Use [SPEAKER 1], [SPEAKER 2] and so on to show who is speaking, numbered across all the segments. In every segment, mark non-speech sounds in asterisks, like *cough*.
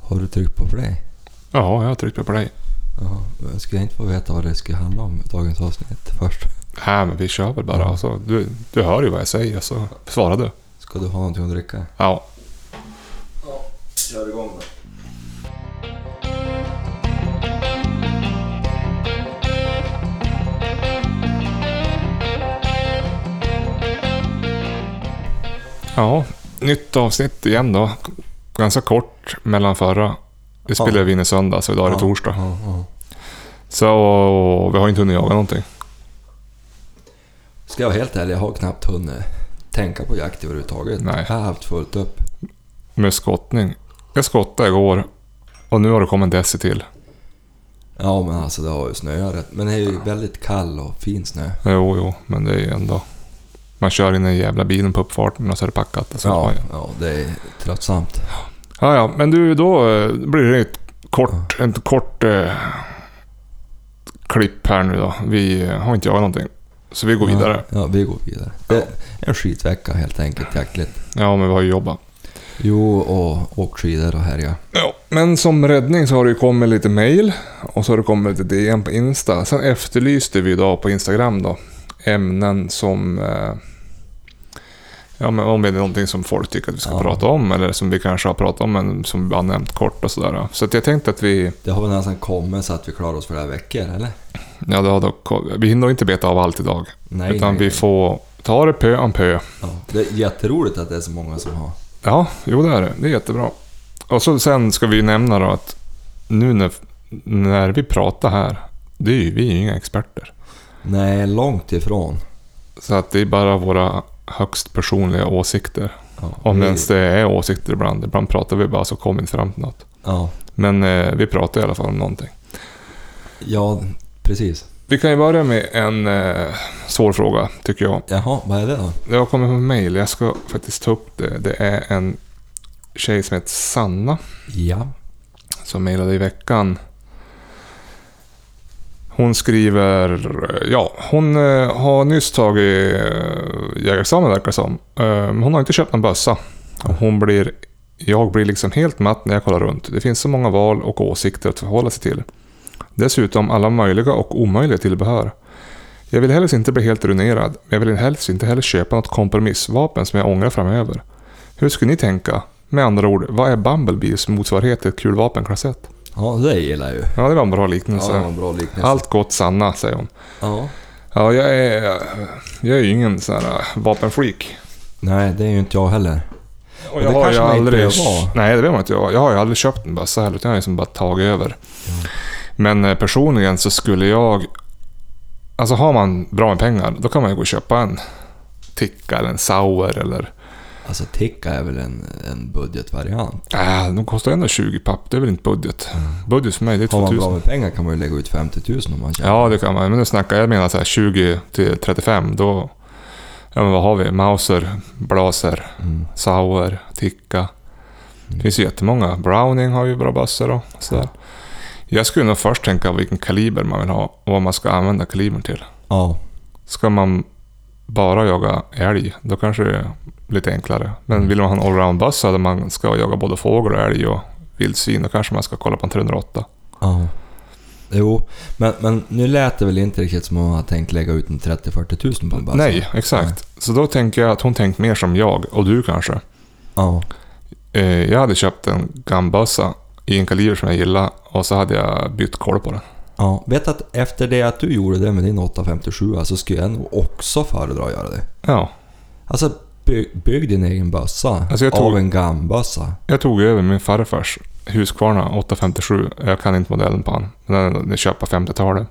[SPEAKER 1] Har du tryckt på play?
[SPEAKER 2] Ja, jag har tryckt på play.
[SPEAKER 1] Ja, jag skulle inte få veta vad det skulle handla om dagens avsnitt först.
[SPEAKER 2] Nej, Äh, men vi kör väl bara.
[SPEAKER 1] Ja.
[SPEAKER 2] Alltså, du, du hör ju vad jag säger, så svarar du.
[SPEAKER 1] Ska du ha någonting att dricka?
[SPEAKER 2] Ja.
[SPEAKER 1] Ja, kör igång då.
[SPEAKER 2] ja, nytt avsnitt igen då. Ganska kort mellan förra. Vi
[SPEAKER 1] Ja.
[SPEAKER 2] spelade vi in i söndag, så idag är det
[SPEAKER 1] Ja.
[SPEAKER 2] torsdag.
[SPEAKER 1] Ja, ja.
[SPEAKER 2] Så vi har inte hunnit jaga någonting.
[SPEAKER 1] Ska jag vara helt ärlig, jag har knappt hunnit tänka på jakt överhuvudtaget.
[SPEAKER 2] Nej.
[SPEAKER 1] Jag har haft fullt upp.
[SPEAKER 2] Med skottning. Jag skottade igår och nu har det kommit en deci till.
[SPEAKER 1] Ja, men alltså det har ju snöat rätt. Men det är ju väldigt kall och fin snö.
[SPEAKER 2] Jo, jo, men det är ju ändå... Man kör in i jävla bilen på uppfarten och så är det packat. Och så
[SPEAKER 1] Ja, ja, det är tröttsamt.
[SPEAKER 2] Ja, ja, men du, då eh, blir det ett kort, en kort eh, klipp här nu då. Vi eh, har inte jagat någonting. Så vi går vidare.
[SPEAKER 1] Ja, ja, vi går vidare. Det är en skitvecka helt enkelt jaktligt.
[SPEAKER 2] Ja, men vi har ju jobbat.
[SPEAKER 1] Jo, och åkt skidor och härjat.
[SPEAKER 2] Ja, men som räddning så har det ju kommit lite mail och så har det kommit lite DM på Insta. Sen efterlyste vi idag på Instagram då ämnen som... Eh, ja, men om det är någonting som folk tycker att vi ska
[SPEAKER 1] Ja.
[SPEAKER 2] prata om eller som vi kanske har pratat om men som vi bara nämnt kort och sådär. Så att jag tänkte att vi...
[SPEAKER 1] Det har väl nästan kommit så att vi klarar oss för det här veckor, eller?
[SPEAKER 2] Ja, det har dock, vi hinner inte beta av allt idag.
[SPEAKER 1] Nej,
[SPEAKER 2] utan
[SPEAKER 1] nej,
[SPEAKER 2] vi
[SPEAKER 1] nej.
[SPEAKER 2] får ta det pö om pö.
[SPEAKER 1] Ja, det är jätteroligt att det är så många som har.
[SPEAKER 2] Ja, jo det är det. Det är jättebra. Och så, sen ska vi ju nämna då att nu när, när vi pratar här, det är ju, vi är ju inga experter.
[SPEAKER 1] Nej, långt ifrån.
[SPEAKER 2] Så att det är bara våra högst personliga åsikter.
[SPEAKER 1] Ja,
[SPEAKER 2] Om
[SPEAKER 1] vi-
[SPEAKER 2] ens det är åsikter ibland. Ibland pratar vi bara så kommer vi inte fram till något.
[SPEAKER 1] Ja,
[SPEAKER 2] Men eh, vi pratar i alla fall om någonting.
[SPEAKER 1] ja, precis.
[SPEAKER 2] Vi kan ju börja med en eh, svår fråga, tycker jag.
[SPEAKER 1] Jaha, vad är det då?
[SPEAKER 2] Det har kommit på mail, jag ska faktiskt ta upp det. Det är en tjej som heter Sanna
[SPEAKER 1] Ja.
[SPEAKER 2] som mejlade i veckan. Hon skriver, ja, hon eh, har nyss tagit eh, jägarexamen verkar det som. Eh, men Hon har inte köpt någon bössa. Och Hon blir, jag blir liksom helt matt när jag kollar runt. Det finns så många val och åsikter att förhålla sig till. Dessutom alla möjliga och omöjliga tillbehör. Jag vill helst inte bli helt ruinerad, men jag vill helst inte heller köpa något kompromissvapen som jag ångrar framöver. Hur skulle ni tänka? Med andra ord, vad är Bumblebees motsvarighet till ett kulvapenklass 1?
[SPEAKER 1] Ja, det gillar jag ju.
[SPEAKER 2] Ja, det var en bra
[SPEAKER 1] Ja,
[SPEAKER 2] liknelse.
[SPEAKER 1] det var en bra liknelse.
[SPEAKER 2] Mm, Allt gott Sanna, säger hon.
[SPEAKER 1] Ja.
[SPEAKER 2] Ja, jag är, jag är ju ingen sån här äh, vapenfreak.
[SPEAKER 1] Nej, det är ju inte jag heller.
[SPEAKER 2] Och
[SPEAKER 1] det
[SPEAKER 2] jag har ju
[SPEAKER 1] kanske man inte
[SPEAKER 2] aldrig...
[SPEAKER 1] behöver vara.
[SPEAKER 2] Nej, det vet man inte. Jag, jag har ju aldrig köpt en bössa heller, utan jag har ju liksom bara tagit över. Men eh, personligen så skulle jag... Alltså har man bra med pengar, då kan man ju gå och köpa en Ticka eller en Sauer eller...
[SPEAKER 1] Alltså Tikka är väl en, en budgetvariant.
[SPEAKER 2] Äh, de kostar ändå 20 papp, det är väl inte budget. Budget för mig, det är
[SPEAKER 1] Har
[SPEAKER 2] 2000.
[SPEAKER 1] man bra med pengar kan man ju lägga ut 50 000 om man köper.
[SPEAKER 2] Ja, det kan man. Men nu snackar jag menar så här 20 till 35. Då, ja, men vad har vi? Mauser, Blaser,
[SPEAKER 1] Mm.
[SPEAKER 2] Sauer, Ticka. Det finns ju jättemånga. Browning har ju bra bössor och sådär. Jag skulle nog först tänka vilken kaliber man vill ha och vad man ska använda kalibern till.
[SPEAKER 1] Ja.
[SPEAKER 2] Ska man bara jaga älg, då kanske det är lite enklare. Men vill man ha en allround-bössa där man ska jaga både fågel och älg och vildsvin, då kanske man ska kolla på en 308.
[SPEAKER 1] Ja. Jo, men, men nu lät det väl inte riktigt som om man hade tänkt lägga ut en 30-40 000 på en bassa?
[SPEAKER 2] Nej, exakt. Så då tänker jag att hon tänkt mer som jag, och du kanske.
[SPEAKER 1] Ja.
[SPEAKER 2] Eh, jag hade köpt en gambössa i en kaliber som jag gillar och så hade jag bytt koll på den.
[SPEAKER 1] ja. Vet att efter det att du gjorde det med din 857 så skulle jag nog också föredra att göra det.
[SPEAKER 2] Ja,
[SPEAKER 1] Alltså, by, bygg din egen bössa
[SPEAKER 2] Alltså, jag tog-
[SPEAKER 1] av en gambössa.
[SPEAKER 2] jag tog över min farfars Husqvarna 857. Jag kan inte modellen på han. Men den är köpt på 50-talet.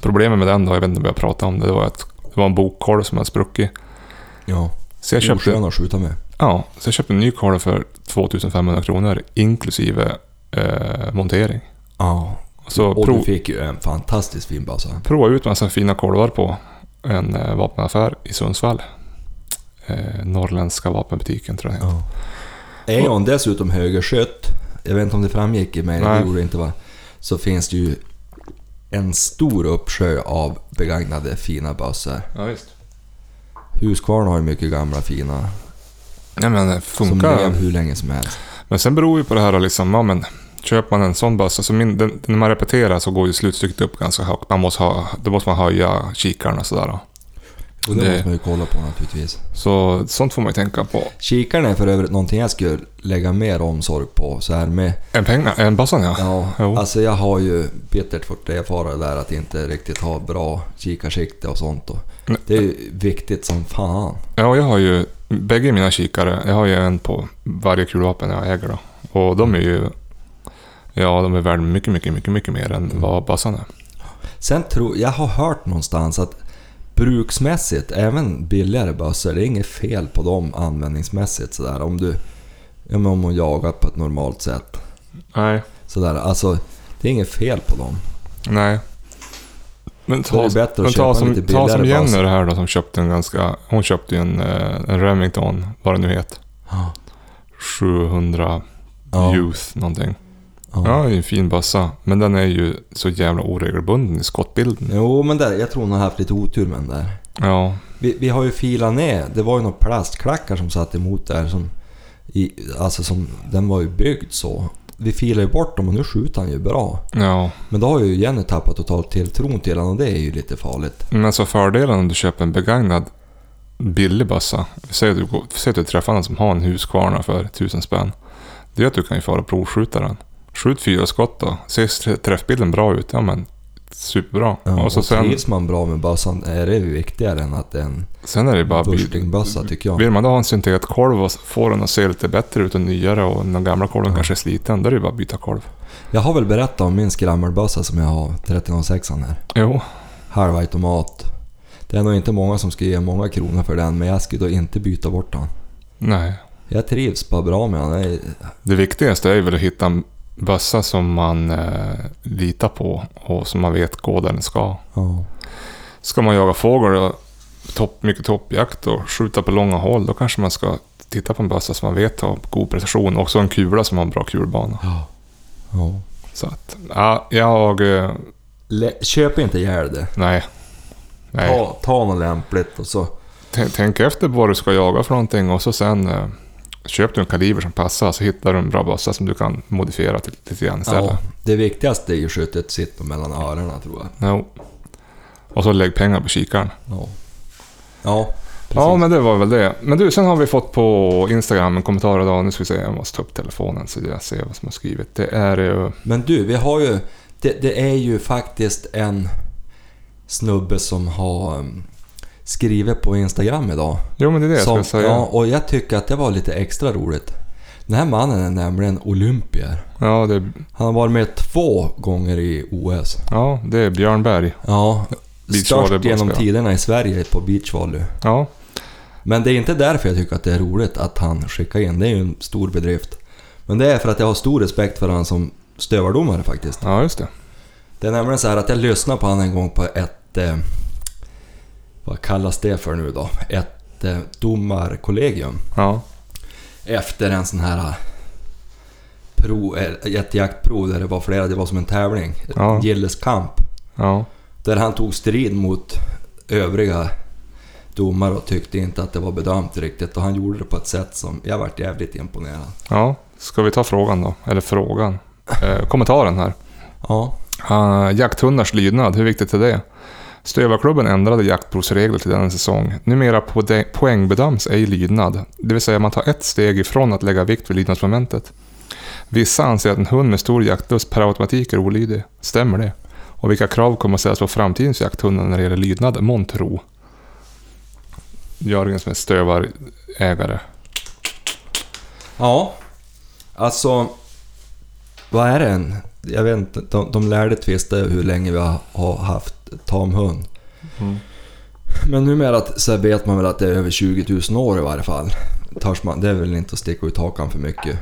[SPEAKER 2] Problemet med den då, jag vet inte om jag pratade om det, det var att det var en bokkolv som hade spruckit.
[SPEAKER 1] Ja.
[SPEAKER 2] Så jag köpte,
[SPEAKER 1] Oskön att skjuta med.
[SPEAKER 2] ja, så jag köpte en ny kolv för 2500 kronor inklusive eh, montering.
[SPEAKER 1] Ja.
[SPEAKER 2] Så
[SPEAKER 1] Och
[SPEAKER 2] prov,
[SPEAKER 1] du fick ju en fantastiskt fin bössa.
[SPEAKER 2] prova ut massa fina kolvar på en eh, vapenaffär i Sundsvall. Eh, Norrländska vapenbutiken tror jag den heter.
[SPEAKER 1] Ja. Är hon dessutom högerskytt, jag vet inte om det framgick i mig, det
[SPEAKER 2] Nej.
[SPEAKER 1] gjorde det inte va? Så finns det ju en stor uppsjö av begagnade fina bössor.
[SPEAKER 2] Ja, visst.
[SPEAKER 1] Husqvarna har ju mycket gamla fina
[SPEAKER 2] Nej men det
[SPEAKER 1] som
[SPEAKER 2] funkar.
[SPEAKER 1] lever hur länge som helst.
[SPEAKER 2] Men Men sen beror ju på det här liksom, ja men köper man en sån bössa, så min, den, när man repeterar så går ju slutstycket upp ganska högt. Man måste ha, då måste man höja kikaren och sådär.
[SPEAKER 1] Och det,
[SPEAKER 2] Det-
[SPEAKER 1] måste man ju kolla på naturligtvis.
[SPEAKER 2] Så sånt får man ju tänka på.
[SPEAKER 1] Kikarna är för övrigt någonting jag skulle lägga mer omsorg på så här med...
[SPEAKER 2] En pengar, en bössan ja.
[SPEAKER 1] Ja,
[SPEAKER 2] Jo.
[SPEAKER 1] alltså jag har ju bittert fått erfara det där att inte riktigt ha bra kikarsikte och sånt. Och
[SPEAKER 2] Nej.
[SPEAKER 1] det är ju viktigt som fan.
[SPEAKER 2] Ja, jag har ju bägge mina kikare. Jag har ju en på varje kulvapen jag äger då. Och de är ju... Ja, de är värda mycket, mycket, mycket, mycket mer
[SPEAKER 1] Mm.
[SPEAKER 2] än vad bassan är.
[SPEAKER 1] Sen tror jag har hört någonstans att bruksmässigt, även billigare bössor, det är inget fel på dem användningsmässigt sådär. Om du... Ja men om man jagar på ett normalt sätt.
[SPEAKER 2] Nej.
[SPEAKER 1] Sådär, alltså det är inget fel på dem.
[SPEAKER 2] Nej. Men
[SPEAKER 1] Då
[SPEAKER 2] ta,
[SPEAKER 1] är det bättre att
[SPEAKER 2] men
[SPEAKER 1] köpa
[SPEAKER 2] ta,
[SPEAKER 1] en
[SPEAKER 2] som,
[SPEAKER 1] lite
[SPEAKER 2] ta som
[SPEAKER 1] billigare
[SPEAKER 2] Jenny
[SPEAKER 1] bas.
[SPEAKER 2] det här då som köpte en ganska... Hon köpte ju en, eh, en Remington, vad det nu heter.
[SPEAKER 1] Ja.
[SPEAKER 2] 700
[SPEAKER 1] Ja.
[SPEAKER 2] Youth någonting. Ja,
[SPEAKER 1] Ja.
[SPEAKER 2] det är en fin bössa. Men den är ju så jävla oregelbunden i skottbilden.
[SPEAKER 1] Jo men där, jag tror hon har haft lite otur med den där.
[SPEAKER 2] Ja.
[SPEAKER 1] Vi, vi har ju filat ner, det var ju några plastklackar som satt emot där som... I, alltså som, den var ju byggd så. Vi filade ju bort dem och nu skjuter han ju bra.
[SPEAKER 2] Ja.
[SPEAKER 1] Men då har ju Jenny tappat totalt tilltron till honom och det är ju lite farligt.
[SPEAKER 2] Men så fördelen om du köper en begagnad billig bössa. Säg att du, går- säg att du träffar någon som har en Husqvarna för tusen spänn. Det är att du kan ju fara och provskjuta den. Skjut fyra skott då. Ser tr- träffbilden bra ut? Ja men superbra.
[SPEAKER 1] Ja,
[SPEAKER 2] och så sen,
[SPEAKER 1] trivs man bra med bössan är det ju viktigare än att det är en
[SPEAKER 2] sen är det bara... Vill,
[SPEAKER 1] burstingbössa tycker jag.
[SPEAKER 2] vill man då ha en syntetkolv och få den att se lite bättre ut och nyare och den gamla kolven
[SPEAKER 1] Ja.
[SPEAKER 2] kanske är sliten. Då är det ju bara att byta kolv.
[SPEAKER 1] Jag har väl berättat om min skrammelbössa som jag har, 306 här.
[SPEAKER 2] Jo.
[SPEAKER 1] Halvautomat. Det är nog inte många som ska ge många kronor för den men jag skulle då inte byta bort den.
[SPEAKER 2] Nej.
[SPEAKER 1] Jag trivs bara bra med den. Jag är-
[SPEAKER 2] Det viktigaste är väl att hitta en bössa som man eh, litar på och som man vet går där den ska.
[SPEAKER 1] Ja.
[SPEAKER 2] Ska man jaga fågel och topp, mycket toppjakt och skjuta på långa håll, då kanske man ska titta på en bössa som man vet har god precision. Också en kula som har en bra kulbana.
[SPEAKER 1] Ja. ja.
[SPEAKER 2] Så att, ja, jag... eh,
[SPEAKER 1] Lä- Köp inte ihjäl det.
[SPEAKER 2] Nej. Nej.
[SPEAKER 1] Ta, ta något lämpligt och så...
[SPEAKER 2] T- Tänk efter vad du ska jaga för någonting och så sen eh, köp du en kaliber som passar så hittar du en bra bössa som du kan modifiera till, lite grann istället.
[SPEAKER 1] Ja, det viktigaste är ju skyttet sitter mellan öronen tror jag.
[SPEAKER 2] Jo. Och så lägg pengar på kikaren.
[SPEAKER 1] Ja. Ja, precis.
[SPEAKER 2] Ja, men det var väl det. Men du, sen har vi fått på Instagram en kommentar idag. Nu ska vi se, jag måste ta upp telefonen så jag ser vad som har skrivit. Det är eh, ju...
[SPEAKER 1] Men du, vi har ju... Det, det är ju faktiskt en snubbe som har um, skrivit på Instagram idag.
[SPEAKER 2] Jo, men det är det
[SPEAKER 1] som,
[SPEAKER 2] jag ska säga.
[SPEAKER 1] Ja,
[SPEAKER 2] Ja.
[SPEAKER 1] och jag tycker att det var lite extra roligt. Den här mannen är nämligen olympier.
[SPEAKER 2] det,
[SPEAKER 1] Han har varit med två gånger i OS.
[SPEAKER 2] ja, det är Björn Berg.
[SPEAKER 1] Ja, störst
[SPEAKER 2] Beachvolleybollspelare.
[SPEAKER 1] genom tiderna i Sverige på beachvolley.
[SPEAKER 2] Ja,
[SPEAKER 1] Men det är inte därför jag tycker att det är roligt att han skickar in. Det är ju en stor bedrift. Men det är för att jag har stor respekt för honom som stövardomare faktiskt.
[SPEAKER 2] ja just det.
[SPEAKER 1] Det är nämligen så här att jag lyssnade på honom en gång på ett... Eh, vad kallas det för nu då? Ett eh, domarkollegium.
[SPEAKER 2] Ja,
[SPEAKER 1] Efter en sån här... eh, Pro, eh, ett jaktprov där det var flera, det var som en tävling.
[SPEAKER 2] Ja.
[SPEAKER 1] En gilleskamp.
[SPEAKER 2] ja,
[SPEAKER 1] Där han tog strid mot övriga domare och tyckte inte att det var bedömt riktigt. Och han gjorde det på ett sätt som... Jag vart jävligt imponerad.
[SPEAKER 2] ja. Ska vi ta frågan då? Eller frågan? Eh, kommentaren här.
[SPEAKER 1] Ja.
[SPEAKER 2] Uh, jakthundars lydnad, hur viktigt är det? Stövarklubben ändrade jaktprovsregler till denna säsong. Numera pode- poängbedöms ej lydnad, det vill säga man tar ett steg ifrån att lägga vikt vid lydnadsmomentet. Vissa anser att en hund med stor jaktlust per automatik är olydig. Stämmer det? Och vilka krav kommer att ställas på framtidens jakthundar när det gäller lydnad, Montro? Jörgen som är stövarägare.
[SPEAKER 1] Ja. Alltså... Vad är det än? Jag vet inte. De, de lärde tvista hur länge vi har, har haft tamhund.
[SPEAKER 2] Mm.
[SPEAKER 1] Men numera att- så vet man väl att det är över 20 000 år i varje fall. Törs man, det är väl inte att sticka ut hakan för mycket.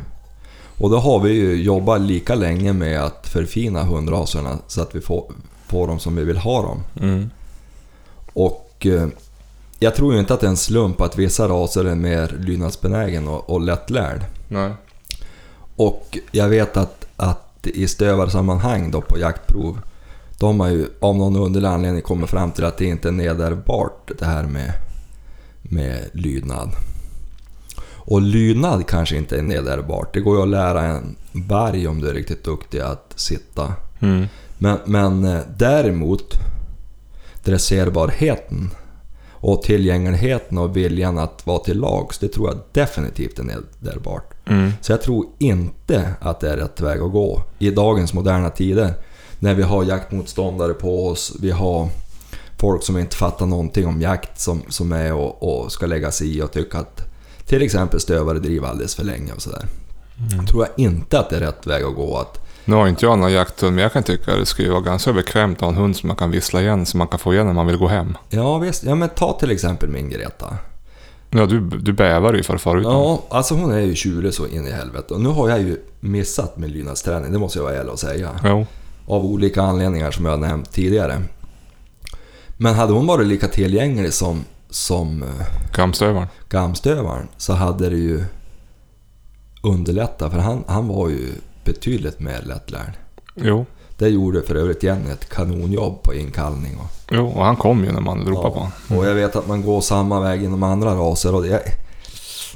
[SPEAKER 1] Och då har vi ju jobbat lika länge med att förfina hundraserna så att vi får, får dem som vi vill ha dem.
[SPEAKER 2] Mm.
[SPEAKER 1] Och eh, jag tror ju inte att det är en slump att vissa raser är mer lydnadsbenägen och, och lättlärd.
[SPEAKER 2] Nej.
[SPEAKER 1] Och jag vet att, att i stövarsammanhang då på jaktprov, de har ju av någon underlig anledning kommit fram till att det inte är nedärvbart det här med, med lydnad. Och lydnad kanske inte är nederbart. Det går ju att lära en berg om du är riktigt duktig att sitta.
[SPEAKER 2] Mm.
[SPEAKER 1] Men, men eh, däremot dresserbarheten och tillgängligheten och viljan att vara till lags, det tror jag definitivt är nederbart.
[SPEAKER 2] Mm.
[SPEAKER 1] Så jag tror inte att det är rätt väg att gå i dagens moderna tider. När vi har jaktmotståndare på oss, vi har folk som inte fattar någonting om jakt som, som är och, och ska lägga sig i och tycka att till exempel stövare driver alldeles för länge och sådär. Tror jag inte att det är rätt väg att gå att...
[SPEAKER 2] Nu har inte jag någon jakthund, men jag kan tycka att det skulle vara ganska bekvämt att ha en hund som man kan vissla igen, som man kan få igen när man vill gå hem.
[SPEAKER 1] Ja visst, ja men ta till exempel min Greta.
[SPEAKER 2] Ja, du, du bävar ju för förut.
[SPEAKER 1] Ja, alltså hon är ju tjurig så in i helvete. Och nu har jag ju missat min lydnadsträning, det måste jag vara ärlig och säga.
[SPEAKER 2] Jo.
[SPEAKER 1] Av olika anledningar som jag har nämnt tidigare. Men hade hon varit lika tillgänglig som, som eh,
[SPEAKER 2] Kamstövaren.
[SPEAKER 1] gamstövaren så hade det ju underlättat för han, han var ju betydligt mer lättlärd.
[SPEAKER 2] Jo.
[SPEAKER 1] Det gjorde för övrigt Jenny ett kanonjobb på inkallning. Och,
[SPEAKER 2] jo, och han kom ju när man ropade på honom.
[SPEAKER 1] och jag vet att man går samma väg inom andra raser och det,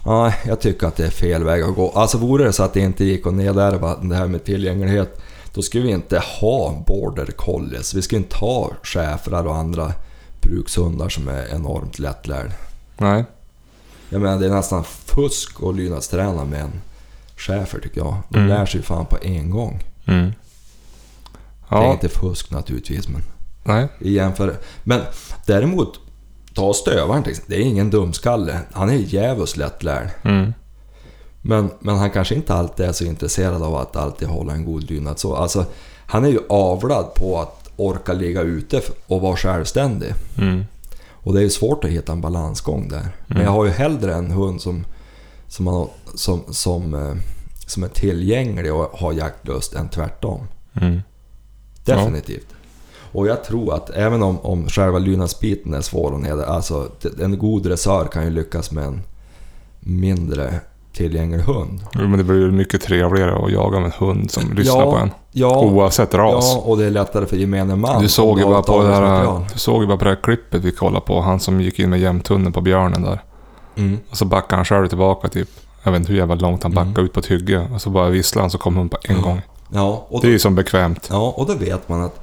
[SPEAKER 1] ja, jag tycker att det är fel väg att gå. Alltså vore det så att det inte gick att nedärva det här med tillgänglighet, då skulle vi inte ha border collies. Vi skulle inte ha schäfrar och andra brukshundar som är enormt lättlärd.
[SPEAKER 2] Nej.
[SPEAKER 1] Jag menar det är nästan fusk att lydnadsträna med en schäfer tycker jag. De
[SPEAKER 2] Mm.
[SPEAKER 1] lär sig ju fan på en gång.
[SPEAKER 2] Mm.
[SPEAKER 1] Det är
[SPEAKER 2] Ja,
[SPEAKER 1] inte fusk naturligtvis men...
[SPEAKER 2] nej.
[SPEAKER 1] i jämförelse. Men däremot, ta stövaren till exempel. Det är ingen dumskalle. Han är djävulskt lättlärd.
[SPEAKER 2] Mm.
[SPEAKER 1] Men, men han kanske inte alltid är så intresserad av att alltid hålla en god lydnad. Så, alltså, han är ju avlad på att orka ligga ute f- och vara självständig.
[SPEAKER 2] Mm.
[SPEAKER 1] Och det är ju svårt att hitta en balansgång där. Men jag har ju hellre en hund som, som, man, som, som, eh, som är tillgänglig och har jaktlust än tvärtom.
[SPEAKER 2] Mm.
[SPEAKER 1] Definitivt. Och jag tror att även om, om själva lydnadsbiten är svår att neder, alltså t- en god dressör kan ju lyckas med en mindre tillgänglig hund.
[SPEAKER 2] Jo, Men det blir ju mycket trevligare att jaga med en hund som lyssnar på en.
[SPEAKER 1] Ja,
[SPEAKER 2] Oavsett ras.
[SPEAKER 1] ja, och det är lättare för gemene man.
[SPEAKER 2] Du såg, ju
[SPEAKER 1] om
[SPEAKER 2] bara
[SPEAKER 1] har
[SPEAKER 2] på det
[SPEAKER 1] material.
[SPEAKER 2] där, du såg ju bara på det här klippet vi kollade på. Han som gick in med jämthunden på björnen där.
[SPEAKER 1] Mm.
[SPEAKER 2] Och så backade han själv tillbaka typ. Jag vet inte hur jävla långt han backade ut på ett hygge. Och så bara visslade han så kom hon på en gång.
[SPEAKER 1] Ja, Mm. och
[SPEAKER 2] Det är
[SPEAKER 1] då,
[SPEAKER 2] ju som bekvämt.
[SPEAKER 1] ja, och då vet man att...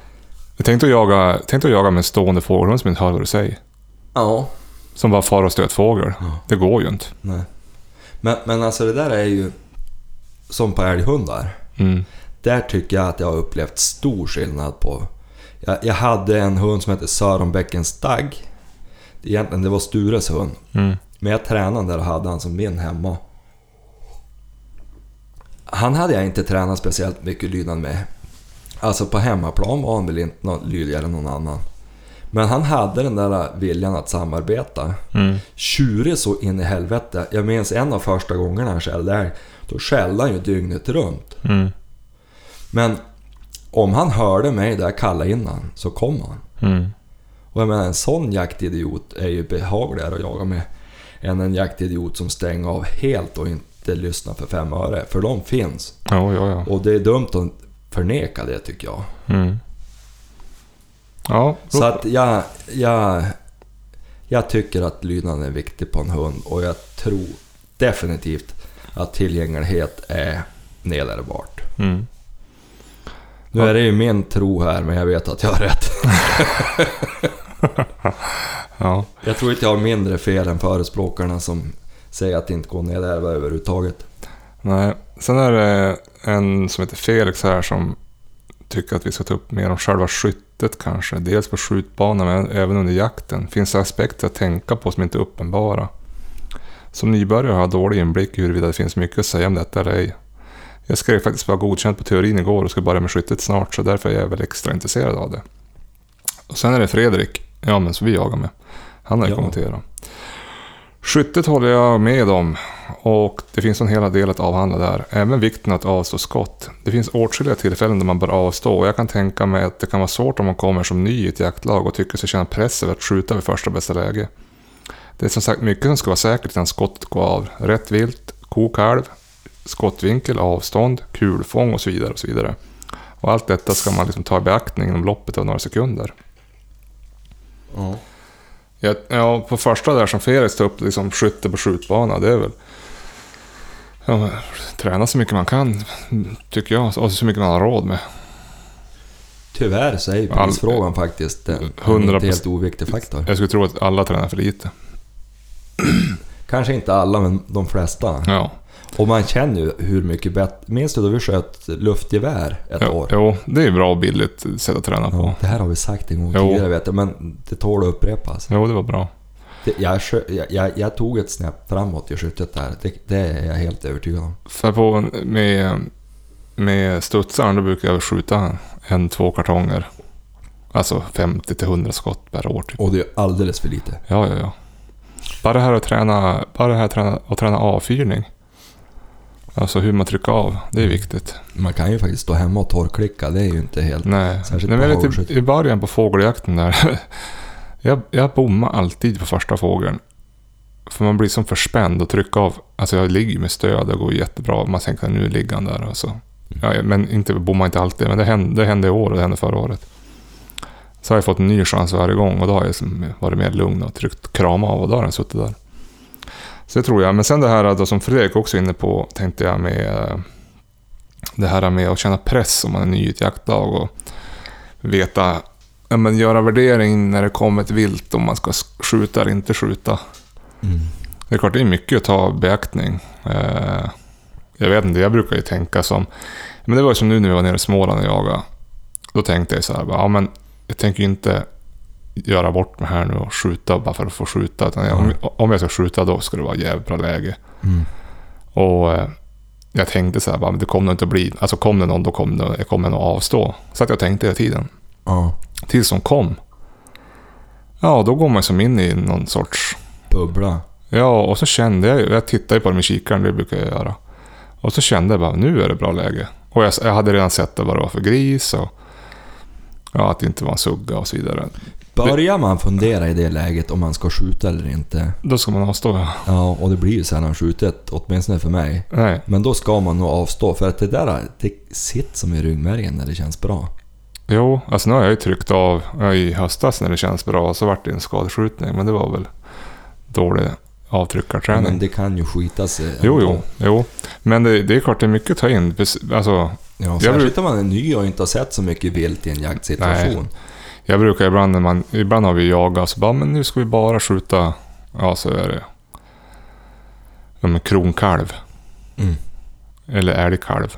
[SPEAKER 2] Jag tänkte att jaga, tänkte att jaga med en stående fågelhund som inte hör vad du säger.
[SPEAKER 1] Ja,
[SPEAKER 2] Som bara far och stöt fågel.
[SPEAKER 1] Ja.
[SPEAKER 2] Det går ju inte.
[SPEAKER 1] nej. Men, men alltså det där är ju som på älghundar.
[SPEAKER 2] Mm.
[SPEAKER 1] Där tycker jag att jag har upplevt stor skillnad på... Jag, jag hade en hund som hette Sörenbäckens Dagg. Egentligen det var Stures hund.
[SPEAKER 2] Mm.
[SPEAKER 1] Men jag tränade där och hade han som min hemma. Han hade jag inte tränat speciellt mycket lydnad med. Alltså på hemmaplan var han väl inte något lydigare än någon annan. Men han hade den där viljan att samarbeta.
[SPEAKER 2] Mm.
[SPEAKER 1] Tjurig så in i helvete. Jag minns en av första gångerna han skällde älg. Då skällde han ju dygnet runt.
[SPEAKER 2] Mm.
[SPEAKER 1] Men om han hörde mig där kalla innan så kom han.
[SPEAKER 2] Mm.
[SPEAKER 1] Och jag menar en sån jaktidiot är ju behagligare att jaga med än en jaktidiot som stänger av helt och inte lyssnar för fem öre. För de finns.
[SPEAKER 2] Ja, ja, ja.
[SPEAKER 1] Och det är dumt att förneka det tycker jag.
[SPEAKER 2] Mm. Ja,
[SPEAKER 1] Så att jag, jag, jag tycker att lydnaden är viktig på en hund och jag tror definitivt att tillgänglighet är nederbart.
[SPEAKER 2] mm.
[SPEAKER 1] Nu är det ju min tro här men jag vet att jag har rätt.
[SPEAKER 2] ja.
[SPEAKER 1] Jag tror inte jag har mindre fel än förespråkarna som säger att det inte går ner där överhuvudtaget.
[SPEAKER 2] Nej. Sen är det en som heter Felix här som tycker att vi ska ta upp mer om själva skyttet kanske. Dels på skjutbanan men även under jakten. Finns det aspekter att tänka på som inte är uppenbara? Som nybörjare har jag dålig inblick i huruvida det finns mycket att säga om detta eller ej. Jag skrev faktiskt bara godkänt på teorin igår och ska börja med skyttet snart så därför är jag väl extra intresserad av det. Och sen är det Fredrik, ja men som vi jagar med. Han har ju
[SPEAKER 1] Ja.
[SPEAKER 2] kommenterat. Skyttet håller jag med om och det finns en hel del att avhandla där. Även vikten att avstå skott. Det finns åtskilliga tillfällen då man bör avstå och jag kan tänka mig att det kan vara svårt om man kommer som ny i ett jaktlag och tycker sig känna press över att skjuta vid första bästa läge. Det är som sagt mycket som ska vara säkert innan skottet går av. Rätt vilt, ko, kalv, skottvinkel, avstånd, kulfång och så vidare. Och så vidare. Och allt detta ska man liksom ta i beaktning inom loppet av några sekunder.
[SPEAKER 1] Ja.
[SPEAKER 2] Ja, ja, på första där som Felix tog upp, liksom skytte på skjutbana, det är väl... Ja, men, träna så mycket man kan, tycker jag. Och så mycket man har råd med.
[SPEAKER 1] Tyvärr så är ju
[SPEAKER 2] All-
[SPEAKER 1] prisfrågan faktiskt en en
[SPEAKER 2] 100%.
[SPEAKER 1] inte helt oviktig faktor.
[SPEAKER 2] Jag skulle tro att alla tränar för lite.
[SPEAKER 1] Kanske inte alla, men de flesta.
[SPEAKER 2] Ja.
[SPEAKER 1] Och man känner ju hur mycket bättre... Minns du då vi sköt luftgevär ett
[SPEAKER 2] Jo,
[SPEAKER 1] år?
[SPEAKER 2] jo, det är bra och billigt sätt att träna på.
[SPEAKER 1] Ja, det här har vi sagt en gång
[SPEAKER 2] Jo.
[SPEAKER 1] tidigare vet jag, men det tål att upprepas.
[SPEAKER 2] Jo, det var bra.
[SPEAKER 1] Det- Jag, skö- jag, jag, jag tog ett snäpp framåt i skyttet där. Det, det är jag helt övertygad om.
[SPEAKER 2] För på, med, med studsaren då brukar jag skjuta en, två kartonger. Alltså 50-100 skott per år typ.
[SPEAKER 1] Och det är alldeles för lite.
[SPEAKER 2] Ja, ja, ja. Bara det här att träna, bara det här att träna, att träna avfyrning. Alltså hur man trycker av, det är viktigt.
[SPEAKER 1] Man kan ju faktiskt stå hemma och torrklicka, det är ju inte helt...
[SPEAKER 2] Nej,
[SPEAKER 1] Särskilt
[SPEAKER 2] Nej
[SPEAKER 1] på
[SPEAKER 2] men
[SPEAKER 1] hagelskytt.
[SPEAKER 2] lite, i början på fågeljakten där. *laughs* jag, jag bommar alltid på första fågeln. För man blir som förspänd och trycker av. Alltså jag ligger med stöd, det går jättebra. Man tänker nu ligger han där. Alltså. Ja, ja, men inte, bommar inte alltid, men det hände, det hände i år och det hände förra året. Så har jag fått en ny chans varje gång och då har jag liksom varit mer lugn och tryckt krama av och då har den suttit där. Så det tror jag. Men sen det här då, som Fredrik också är inne på, tänkte jag med eh, det här med att känna press om man är ny i ett jaktlag. Och, veta, ja, men göra värdering när det kommer ett vilt, om man ska skjuta eller inte skjuta. Mm. Det är klart, det är mycket att ta i beaktning. Eh, jag vet inte, jag brukar ju tänka som... Men det var ju som nu när vi var nere i Småland och jagade. Då tänkte jag så här, bara, ja men jag tänker ju inte göra bort mig här nu och skjuta bara för att få skjuta. Utan jag, om, om jag ska skjuta då ska det vara jävligt bra läge.
[SPEAKER 1] Mm.
[SPEAKER 2] Och eh, jag tänkte så här, bara, men det kommer nog inte att bli... Alltså kom det någon, då kommer det, jag kommer nog avstå. Så att jag tänkte hela tiden
[SPEAKER 1] Ja,
[SPEAKER 2] tills hon kom. Ja, då går man som in i någon sorts...
[SPEAKER 1] bubbla.
[SPEAKER 2] Ja, och så kände jag ju- Jag tittade ju på dem i kikaren, det brukar jag göra. Och så kände jag bara, nu är det bra läge. Och jag, jag hade redan sett vad det var för gris och... Ja, att det inte var en sugga och så vidare.
[SPEAKER 1] Börjar man fundera i det läget om man ska skjuta eller inte,
[SPEAKER 2] Då ska man avstå. ja.
[SPEAKER 1] ja, och det blir ju sällan skjutet, åtminstone för mig,
[SPEAKER 2] Nej,
[SPEAKER 1] men då ska man nog avstå för att det där det sitter som i ryggmärgen när det känns bra.
[SPEAKER 2] jo, alltså nu har jag ju tryckt av ja, i höstas när det känns bra. Så vart det en skadeskjutning, men det var väl dålig avtryckarträning.
[SPEAKER 1] Men det kan ju eh, skita sig.
[SPEAKER 2] Jo, jo, jo. Men det, det är klart, det är mycket att ta in. Precis- Alltså,
[SPEAKER 1] Ja,
[SPEAKER 2] Jag
[SPEAKER 1] särskilt
[SPEAKER 2] bruk-
[SPEAKER 1] om man är ny och inte har sett så mycket vilt i en jaktsituation.
[SPEAKER 2] Jag brukar ibland när man, ibland har vi jagat så bara, men nu ska vi bara skjuta, ja så är det, ja, men kronkalv
[SPEAKER 1] Mm.
[SPEAKER 2] eller älgkalv.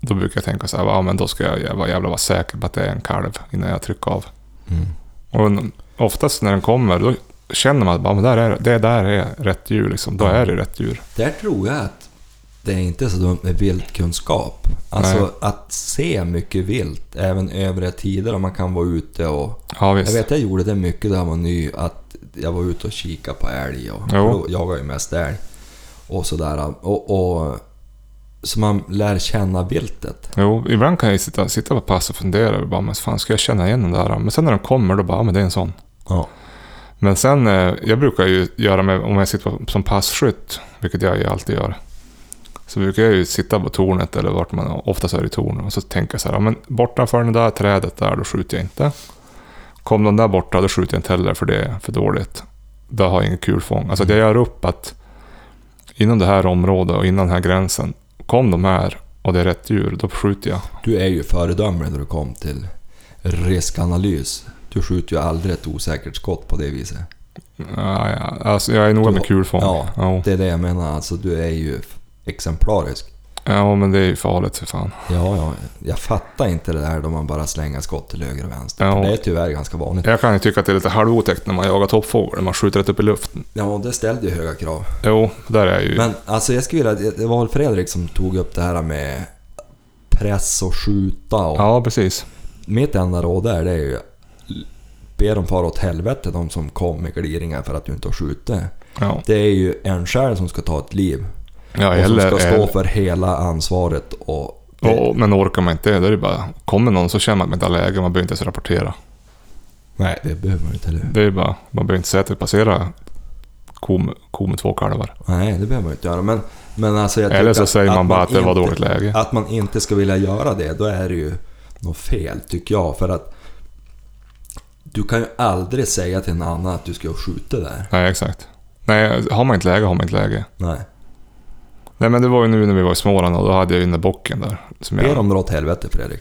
[SPEAKER 2] Då brukar jag tänka så här, ja men då ska jag vara jävla vara säker på att det är en kalv innan jag trycker av.
[SPEAKER 1] Mm.
[SPEAKER 2] Och n- oftast när den kommer, då känner man att bara, men där är, det där är rätt djur liksom, då är det rätt djur.
[SPEAKER 1] Där tror jag att det är inte så dumt med viltkunskap. Alltså
[SPEAKER 2] Nej.
[SPEAKER 1] att se mycket vilt, även övriga tider om man kan vara ute och...
[SPEAKER 2] Ja
[SPEAKER 1] Jag
[SPEAKER 2] visst.
[SPEAKER 1] vet, jag gjorde det mycket när jag var ny, att jag var ute och kikade på älg och
[SPEAKER 2] Jo.
[SPEAKER 1] då jagade ju mest älg. Och sådär. Och, och, så man lär känna viltet.
[SPEAKER 2] Jo, ibland kan jag sitta, sitta på pass och fundera, och bara, men fan ska jag känna igen den där? Men sen när den kommer, då bara, ja men det är en sån.
[SPEAKER 1] Ja.
[SPEAKER 2] Men sen, eh, jag brukar ju göra med, om jag sitter på, som passkytt, vilket jag ju alltid gör, så brukar jag ju sitta på tornet eller vart man, oftast är det torn, och så tänka så här, ja, men bortanför det där trädet där, då skjuter jag inte. Kom de där borta, då skjuter jag inte heller för det är för dåligt. Då har jag ingen kul fång. Alltså att jag gör upp att inom det här området och innan den här gränsen, kom de här och det är rätt djur, då skjuter jag.
[SPEAKER 1] Du är ju föredömlig när du kom till riskanalys. Du skjuter ju aldrig ett osäkert skott på det viset.
[SPEAKER 2] Ja, ja. Alltså, jag är noga
[SPEAKER 1] Du-
[SPEAKER 2] med kul fång.
[SPEAKER 1] ja.
[SPEAKER 2] Ja.
[SPEAKER 1] Det är det jag menar, alltså du är ju f- exemplarisk.
[SPEAKER 2] ja, men det är ju farligt för fan.
[SPEAKER 1] Ja, ja, jag fattar inte det där då man bara slänger skott till höger och vänster.
[SPEAKER 2] Ja.
[SPEAKER 1] För Det är tyvärr ganska vanligt.
[SPEAKER 2] Jag kan ju tycka att det är lite halvotäckt när man jagar toppfågel, man skjuter rätt upp i luften.
[SPEAKER 1] Ja, det ställde ju höga krav.
[SPEAKER 2] Jo, där är jag ju...
[SPEAKER 1] Men alltså jag skulle vilja, det var väl Fredrik som tog upp det här med press och skjuta och...
[SPEAKER 2] Ja, precis.
[SPEAKER 1] Mitt enda råd där det är ju... Be dem fara åt helvete de som kom med gliringar för att du inte har skjutit.
[SPEAKER 2] Ja,
[SPEAKER 1] Det är ju en själv som ska ta ett liv.
[SPEAKER 2] ja
[SPEAKER 1] Och
[SPEAKER 2] eller...
[SPEAKER 1] som ska stå
[SPEAKER 2] eller-
[SPEAKER 1] för hela ansvaret och...
[SPEAKER 2] och, men orkar man inte, då är det bara... Kommer någon så känner man att man inte har läge, man behöver inte ens rapportera.
[SPEAKER 1] Nej, det behöver man inte, eller hur?
[SPEAKER 2] Det är bara... Man behöver inte säga att det passerar ko med, ko med två kalvar.
[SPEAKER 1] Nej, det behöver man inte göra. Men, men alltså jag
[SPEAKER 2] Eller
[SPEAKER 1] tycker
[SPEAKER 2] så säger man bara att det var
[SPEAKER 1] inte-
[SPEAKER 2] dåligt läge.
[SPEAKER 1] Att man inte ska vilja göra det, då är det ju något fel tycker jag. För att du kan ju aldrig säga till en annan att du ska skjuta där.
[SPEAKER 2] Nej, exakt. Nej, har man inte läge har man inte läge.
[SPEAKER 1] Nej.
[SPEAKER 2] Nej men det var ju nu när vi var i Småland och då hade jag ju den där bocken där. Som
[SPEAKER 1] Be
[SPEAKER 2] jag,
[SPEAKER 1] dem dra åt helvete Fredrik.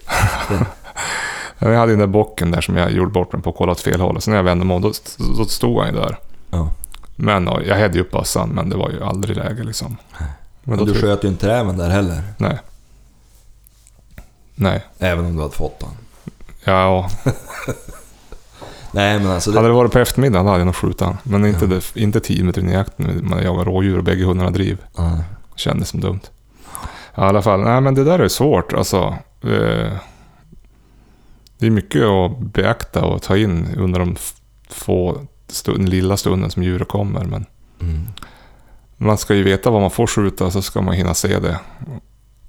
[SPEAKER 2] jag hade den där bocken där som jag gjorde bort mig på och kollade åt fel håll. Och sen när jag vände mig om, då, då stod han ju där.
[SPEAKER 1] Ja.
[SPEAKER 2] Men ja, jag hade ju upp bössan, men det var ju aldrig läge liksom. Men
[SPEAKER 1] Men
[SPEAKER 2] då
[SPEAKER 1] du
[SPEAKER 2] tror-
[SPEAKER 1] sköt ju inte även där heller.
[SPEAKER 2] Nej. Nej,
[SPEAKER 1] Även om du hade fått den.
[SPEAKER 2] ja,
[SPEAKER 1] Nej men alltså, det,
[SPEAKER 2] hade det varit på eftermiddagen då hade jag nog skjutit han. Men inte, det, inte tio meter in i jakten, man jagar rådjur och bägge hundarna driv.
[SPEAKER 1] Ja.
[SPEAKER 2] Kändes som dumt. Ja, I alla fall, nej men det där är svårt alltså. Eh, Det är mycket att beakta och ta in under de f- få stund, lilla stunden som djuret kommer. Men
[SPEAKER 1] Mm.
[SPEAKER 2] man ska ju veta vad man får skjuta så ska man hinna se det.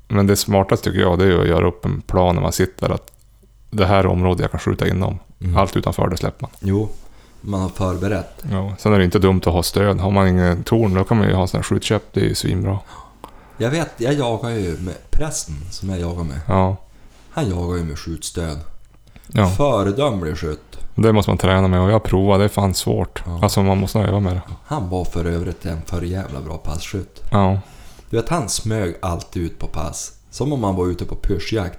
[SPEAKER 2] Men det smartaste tycker jag det är ju att göra upp en plan när man sitter att det här är området jag kan skjuta inom.
[SPEAKER 1] Mm.
[SPEAKER 2] Allt utanför det släpper man.
[SPEAKER 1] Jo, man har förberett.
[SPEAKER 2] Ja. Sen är det inte dumt att ha stöd. Har man ingen torn då kan man ju ha en sån här skjutkäpp. Det är ju svinbra.
[SPEAKER 1] Jag vet, jag jagar ju med prästen som jag jagar med.
[SPEAKER 2] Ja.
[SPEAKER 1] Han jagar ju med skjutstöd.
[SPEAKER 2] ja.
[SPEAKER 1] Föredömlig skytt.
[SPEAKER 2] Det måste man träna med och jag provar. Det är fan svårt.
[SPEAKER 1] Ja.
[SPEAKER 2] Alltså man måste öva med det.
[SPEAKER 1] Han var för övrigt en för jävla bra passskytt.
[SPEAKER 2] Ja.
[SPEAKER 1] Du vet, han smög alltid ut på pass. Som om han var ute på pyrschjakt.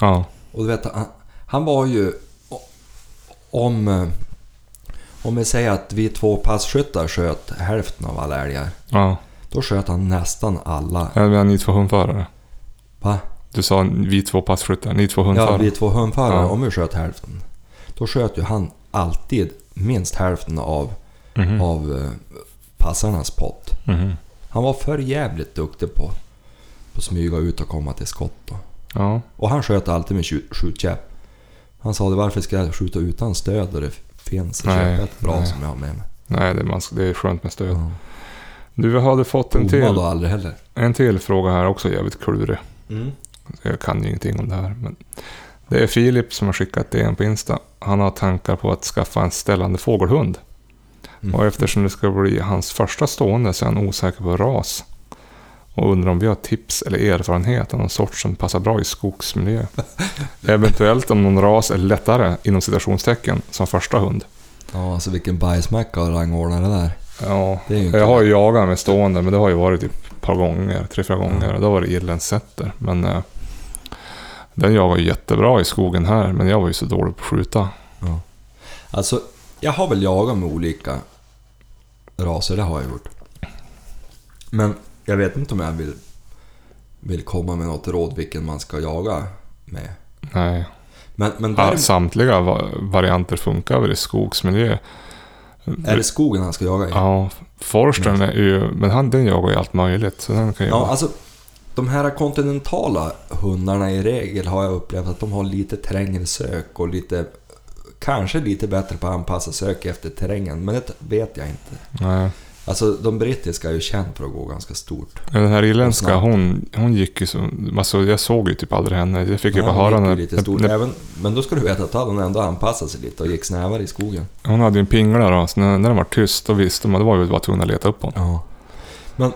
[SPEAKER 2] Ja.
[SPEAKER 1] Och du vet, han, han var ju... o- Om... eh, Om vi säger att vi två passskyttar sköt hälften av alla älgar.
[SPEAKER 2] Ja.
[SPEAKER 1] Då sköt han nästan alla.
[SPEAKER 2] Jag menar ni två hundförare.
[SPEAKER 1] Va?
[SPEAKER 2] Du sa vi två passkyttar. Ni två
[SPEAKER 1] Ja,
[SPEAKER 2] hundförare.
[SPEAKER 1] vi två hundförare.
[SPEAKER 2] Ja.
[SPEAKER 1] Om vi sköt hälften. Då sköt ju han alltid minst hälften av,
[SPEAKER 2] Mhm.
[SPEAKER 1] av eh, passarnas pott.
[SPEAKER 2] Mhm.
[SPEAKER 1] Han var för jävligt duktig på på att smyga ut och komma till skott. Då.
[SPEAKER 2] Ja.
[SPEAKER 1] Och han sköt alltid med skjut- skjutkäpp. Han sa det, varför ska jag skjuta utan stöd då det finns ett
[SPEAKER 2] Nej,
[SPEAKER 1] köpet bra
[SPEAKER 2] nej.
[SPEAKER 1] som jag har med mig?
[SPEAKER 2] Nej, det, man, ska- det är skönt med stöd.
[SPEAKER 1] Ja.
[SPEAKER 2] Du hade fått en
[SPEAKER 1] Bommade
[SPEAKER 2] till,
[SPEAKER 1] då aldrig heller.
[SPEAKER 2] en till fråga här också, jävligt klurig.
[SPEAKER 1] Mm.
[SPEAKER 2] Jag kan ju ingenting om det här. Men det är Filip som har skickat DM på Insta. Han har tankar på att skaffa en ställande fågelhund.
[SPEAKER 1] Mm.
[SPEAKER 2] Och eftersom det ska bli hans första stående så är han osäker på ras. Och undrar om vi har tips eller erfarenhet av någon sort som passar bra i skogsmiljö. Eventuellt om någon ras är lättare, inom citationstecken, som första hund.
[SPEAKER 1] Ja, alltså vilken bajsmacka att rangordna det där.
[SPEAKER 2] Ja,
[SPEAKER 1] Det är ju inte
[SPEAKER 2] jag har ju jagat med stående, men det har ju varit typ ett par gånger, tre, fyra gånger. Då var det irländsetter. Men eh, den jagade ju jättebra i skogen här, men jag var ju så dålig på att skjuta.
[SPEAKER 1] Alltså, jag har väl jagat med olika raser, det har jag gjort. Men jag vet inte om jag vill, vill komma med något råd vilken man ska jaga med.
[SPEAKER 2] Nej.
[SPEAKER 1] Men, men
[SPEAKER 2] Ja,
[SPEAKER 1] där,
[SPEAKER 2] samtliga va- varianter funkar väl i skogsmiljö.
[SPEAKER 1] är det skogen han ska jaga i?
[SPEAKER 2] Ja, Forsten är ju... Men han, den jagar ju allt möjligt, så den kan ju...
[SPEAKER 1] Mm. Ja, alltså de här kontinentala hundarna i regel har jag upplevt att de har lite trängre sök och lite kanske lite bättre på att anpassa sök efter terrängen, men det vet jag inte.
[SPEAKER 2] Nej.
[SPEAKER 1] Alltså de brittiska är ju känd för att gå ganska stort.
[SPEAKER 2] Den här irländska,
[SPEAKER 1] Snabbt.
[SPEAKER 2] hon, hon gick ju så... Alltså jag såg ju typ aldrig henne. Jag fick ju
[SPEAKER 1] Nej,
[SPEAKER 2] bara
[SPEAKER 1] hon gick ju
[SPEAKER 2] höra när,
[SPEAKER 1] lite stort.
[SPEAKER 2] när
[SPEAKER 1] Även, men då ska du veta att hon ändå anpassade sig lite och gick snävare i skogen.
[SPEAKER 2] Hon hade ju en pingla då, så när, när den var tyst då visste man, då var vi bara tvungna att leta upp honom.
[SPEAKER 1] Ja. Men,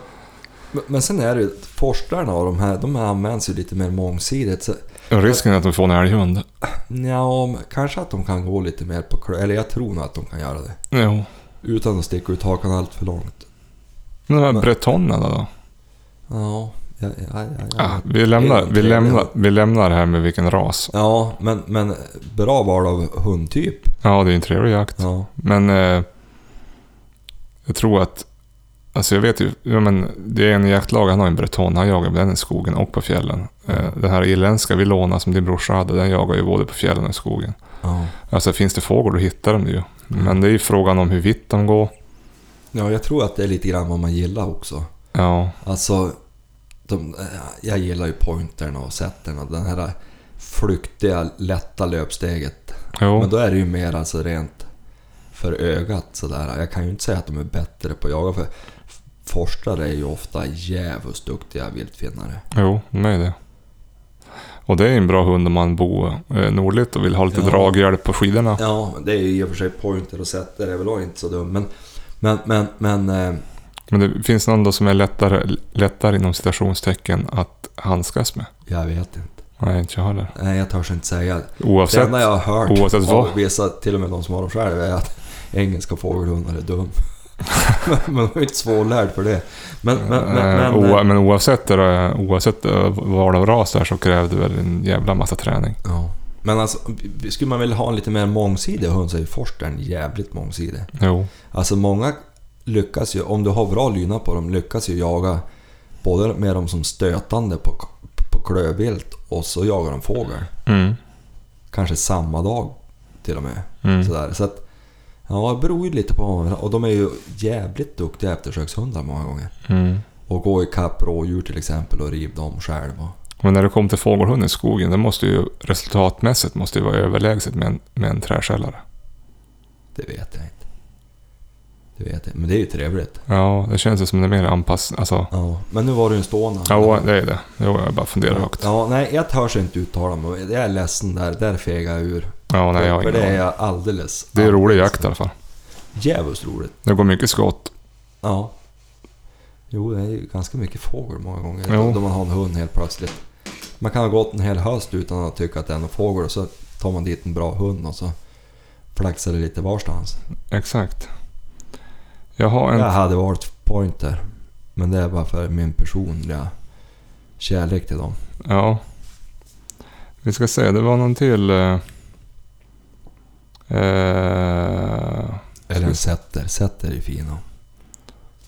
[SPEAKER 1] men- men sen är det ju att forskarna och de här, de används ju lite mer mångsidigt. Så,
[SPEAKER 2] Och Risken är att de får en älghund.
[SPEAKER 1] nja, men kanske att de kan gå lite mer på klö... Eller jag tror nog att de kan göra det.
[SPEAKER 2] Jo.
[SPEAKER 1] Utan att sticka ut hakan allt för långt.
[SPEAKER 2] Men de här
[SPEAKER 1] Men-
[SPEAKER 2] bretonerna då?
[SPEAKER 1] Ja, ja, ja, ja,
[SPEAKER 2] Ja,
[SPEAKER 1] ja.
[SPEAKER 2] vi,
[SPEAKER 1] Det
[SPEAKER 2] lämnar,
[SPEAKER 1] är de
[SPEAKER 2] vi, lämnar,
[SPEAKER 1] trevliga.
[SPEAKER 2] vi lämnar det här med vilken ras.
[SPEAKER 1] ja men, men bra val av hundtyp.
[SPEAKER 2] Ja, det är ju en trevlig jakt.
[SPEAKER 1] Ja.
[SPEAKER 2] Men eh, jag tror att... Alltså jag vet ju, ja, men det är en jaktlag, han har en breton, han jagar med den i skogen och på fjällen. Eh, den här irländska vi lånade som din brorsa hade, den jagar ju både på fjällen och i skogen.
[SPEAKER 1] Ja.
[SPEAKER 2] Alltså finns det fågel då hittar de det ju. Men det är ju frågan om hur vitt de går.
[SPEAKER 1] ja, jag tror att det är lite grann vad man gillar också.
[SPEAKER 2] Ja,
[SPEAKER 1] Alltså, de, eh, jag gillar ju pointerna och setterna. Den här flyktiga, lätta löpsteget.
[SPEAKER 2] jo.
[SPEAKER 1] Men då är det ju mer alltså rent för ögat sådär. Jag kan ju inte säga att de är bättre på att jaga. För forskare är ju ofta djävulskt duktiga viltfinnare.
[SPEAKER 2] Jo, de är det. Och det är en bra hund om man bor eh, nordligt och vill ha lite
[SPEAKER 1] Ja.
[SPEAKER 2] draghjälp på skidorna.
[SPEAKER 1] Ja, det är ju i och för sig pointer och setter är väl också inte så dum. Men, men, men, men... eh,
[SPEAKER 2] Men det finns någon då som är lättare, lättare inom citationstecken att handskas med?
[SPEAKER 1] Jag vet inte.
[SPEAKER 2] Nej, inte jag heller.
[SPEAKER 1] Nej, jag törs inte säga. Det
[SPEAKER 2] Oavsett.
[SPEAKER 1] enda jag har hört
[SPEAKER 2] oavsett
[SPEAKER 1] av
[SPEAKER 2] vad.
[SPEAKER 1] vissa, till och med de som har dem själv, är att engelska fågelhundar är dum. *laughs* Man är ju inte svårlärd för det. Men, men, men,
[SPEAKER 2] Men,
[SPEAKER 1] men, eh,
[SPEAKER 2] o, eh, men oavsett, är det- oavsett eh, val av ras där så krävde väl en jävla massa träning.
[SPEAKER 1] ja. men alltså, skulle man vilja ha en lite mer mångsidig hund så är ju forskaren jävligt mångsidig.
[SPEAKER 2] Jo.
[SPEAKER 1] Alltså många lyckas ju, om du har bra lyna på dem, lyckas ju jaga både med dem som stötande på, på klövvilt och så jagar de fågel.
[SPEAKER 2] Mm.
[SPEAKER 1] Kanske samma dag till och med.
[SPEAKER 2] Mm.
[SPEAKER 1] Sådär. Så att, ja, det beror ju lite på. Och de är ju jävligt duktiga eftersökshundar många gånger.
[SPEAKER 2] Mm.
[SPEAKER 1] Och gå ikapp rådjur till exempel och riv dem själv. Och,
[SPEAKER 2] Men när det kom till fågelhunden i skogen, det måste ju resultatmässigt måste ju vara överlägset med en, med en träskällare.
[SPEAKER 1] det vet jag inte. Det vet jag inte. Men det är ju trevligt.
[SPEAKER 2] Ja, det känns ju som det är mer anpassat. Alltså,
[SPEAKER 1] Ja, men nu var det ju en stående.
[SPEAKER 2] ja, det är det. Jo, jag bara funderar högt. Ja,
[SPEAKER 1] Ja, nej, jag törs inte uttala mig. Jag är ledsen där. Där fegar jag ur.
[SPEAKER 2] nej, jag har
[SPEAKER 1] för
[SPEAKER 2] ingen
[SPEAKER 1] det är
[SPEAKER 2] aning.
[SPEAKER 1] jag alldeles...
[SPEAKER 2] Det är rolig jakt i alla fall.
[SPEAKER 1] Djävulskt roligt.
[SPEAKER 2] Det går mycket skott.
[SPEAKER 1] Ja. Jo, det är ju ganska mycket fågel många gånger.
[SPEAKER 2] Jo.
[SPEAKER 1] Då man har en hund helt plötsligt. Man kan ha gått en hel höst utan att tycka att det är någon fågel och så tar man dit en bra hund och så flaxar det lite varstans.
[SPEAKER 2] Exakt. Jag har en...
[SPEAKER 1] Jag hade varit pointer. Men det är bara för min personliga kärlek till dem.
[SPEAKER 2] Ja. Vi ska se, det var någon till... Eh, eh,
[SPEAKER 1] Eller en setter. Setter är fina.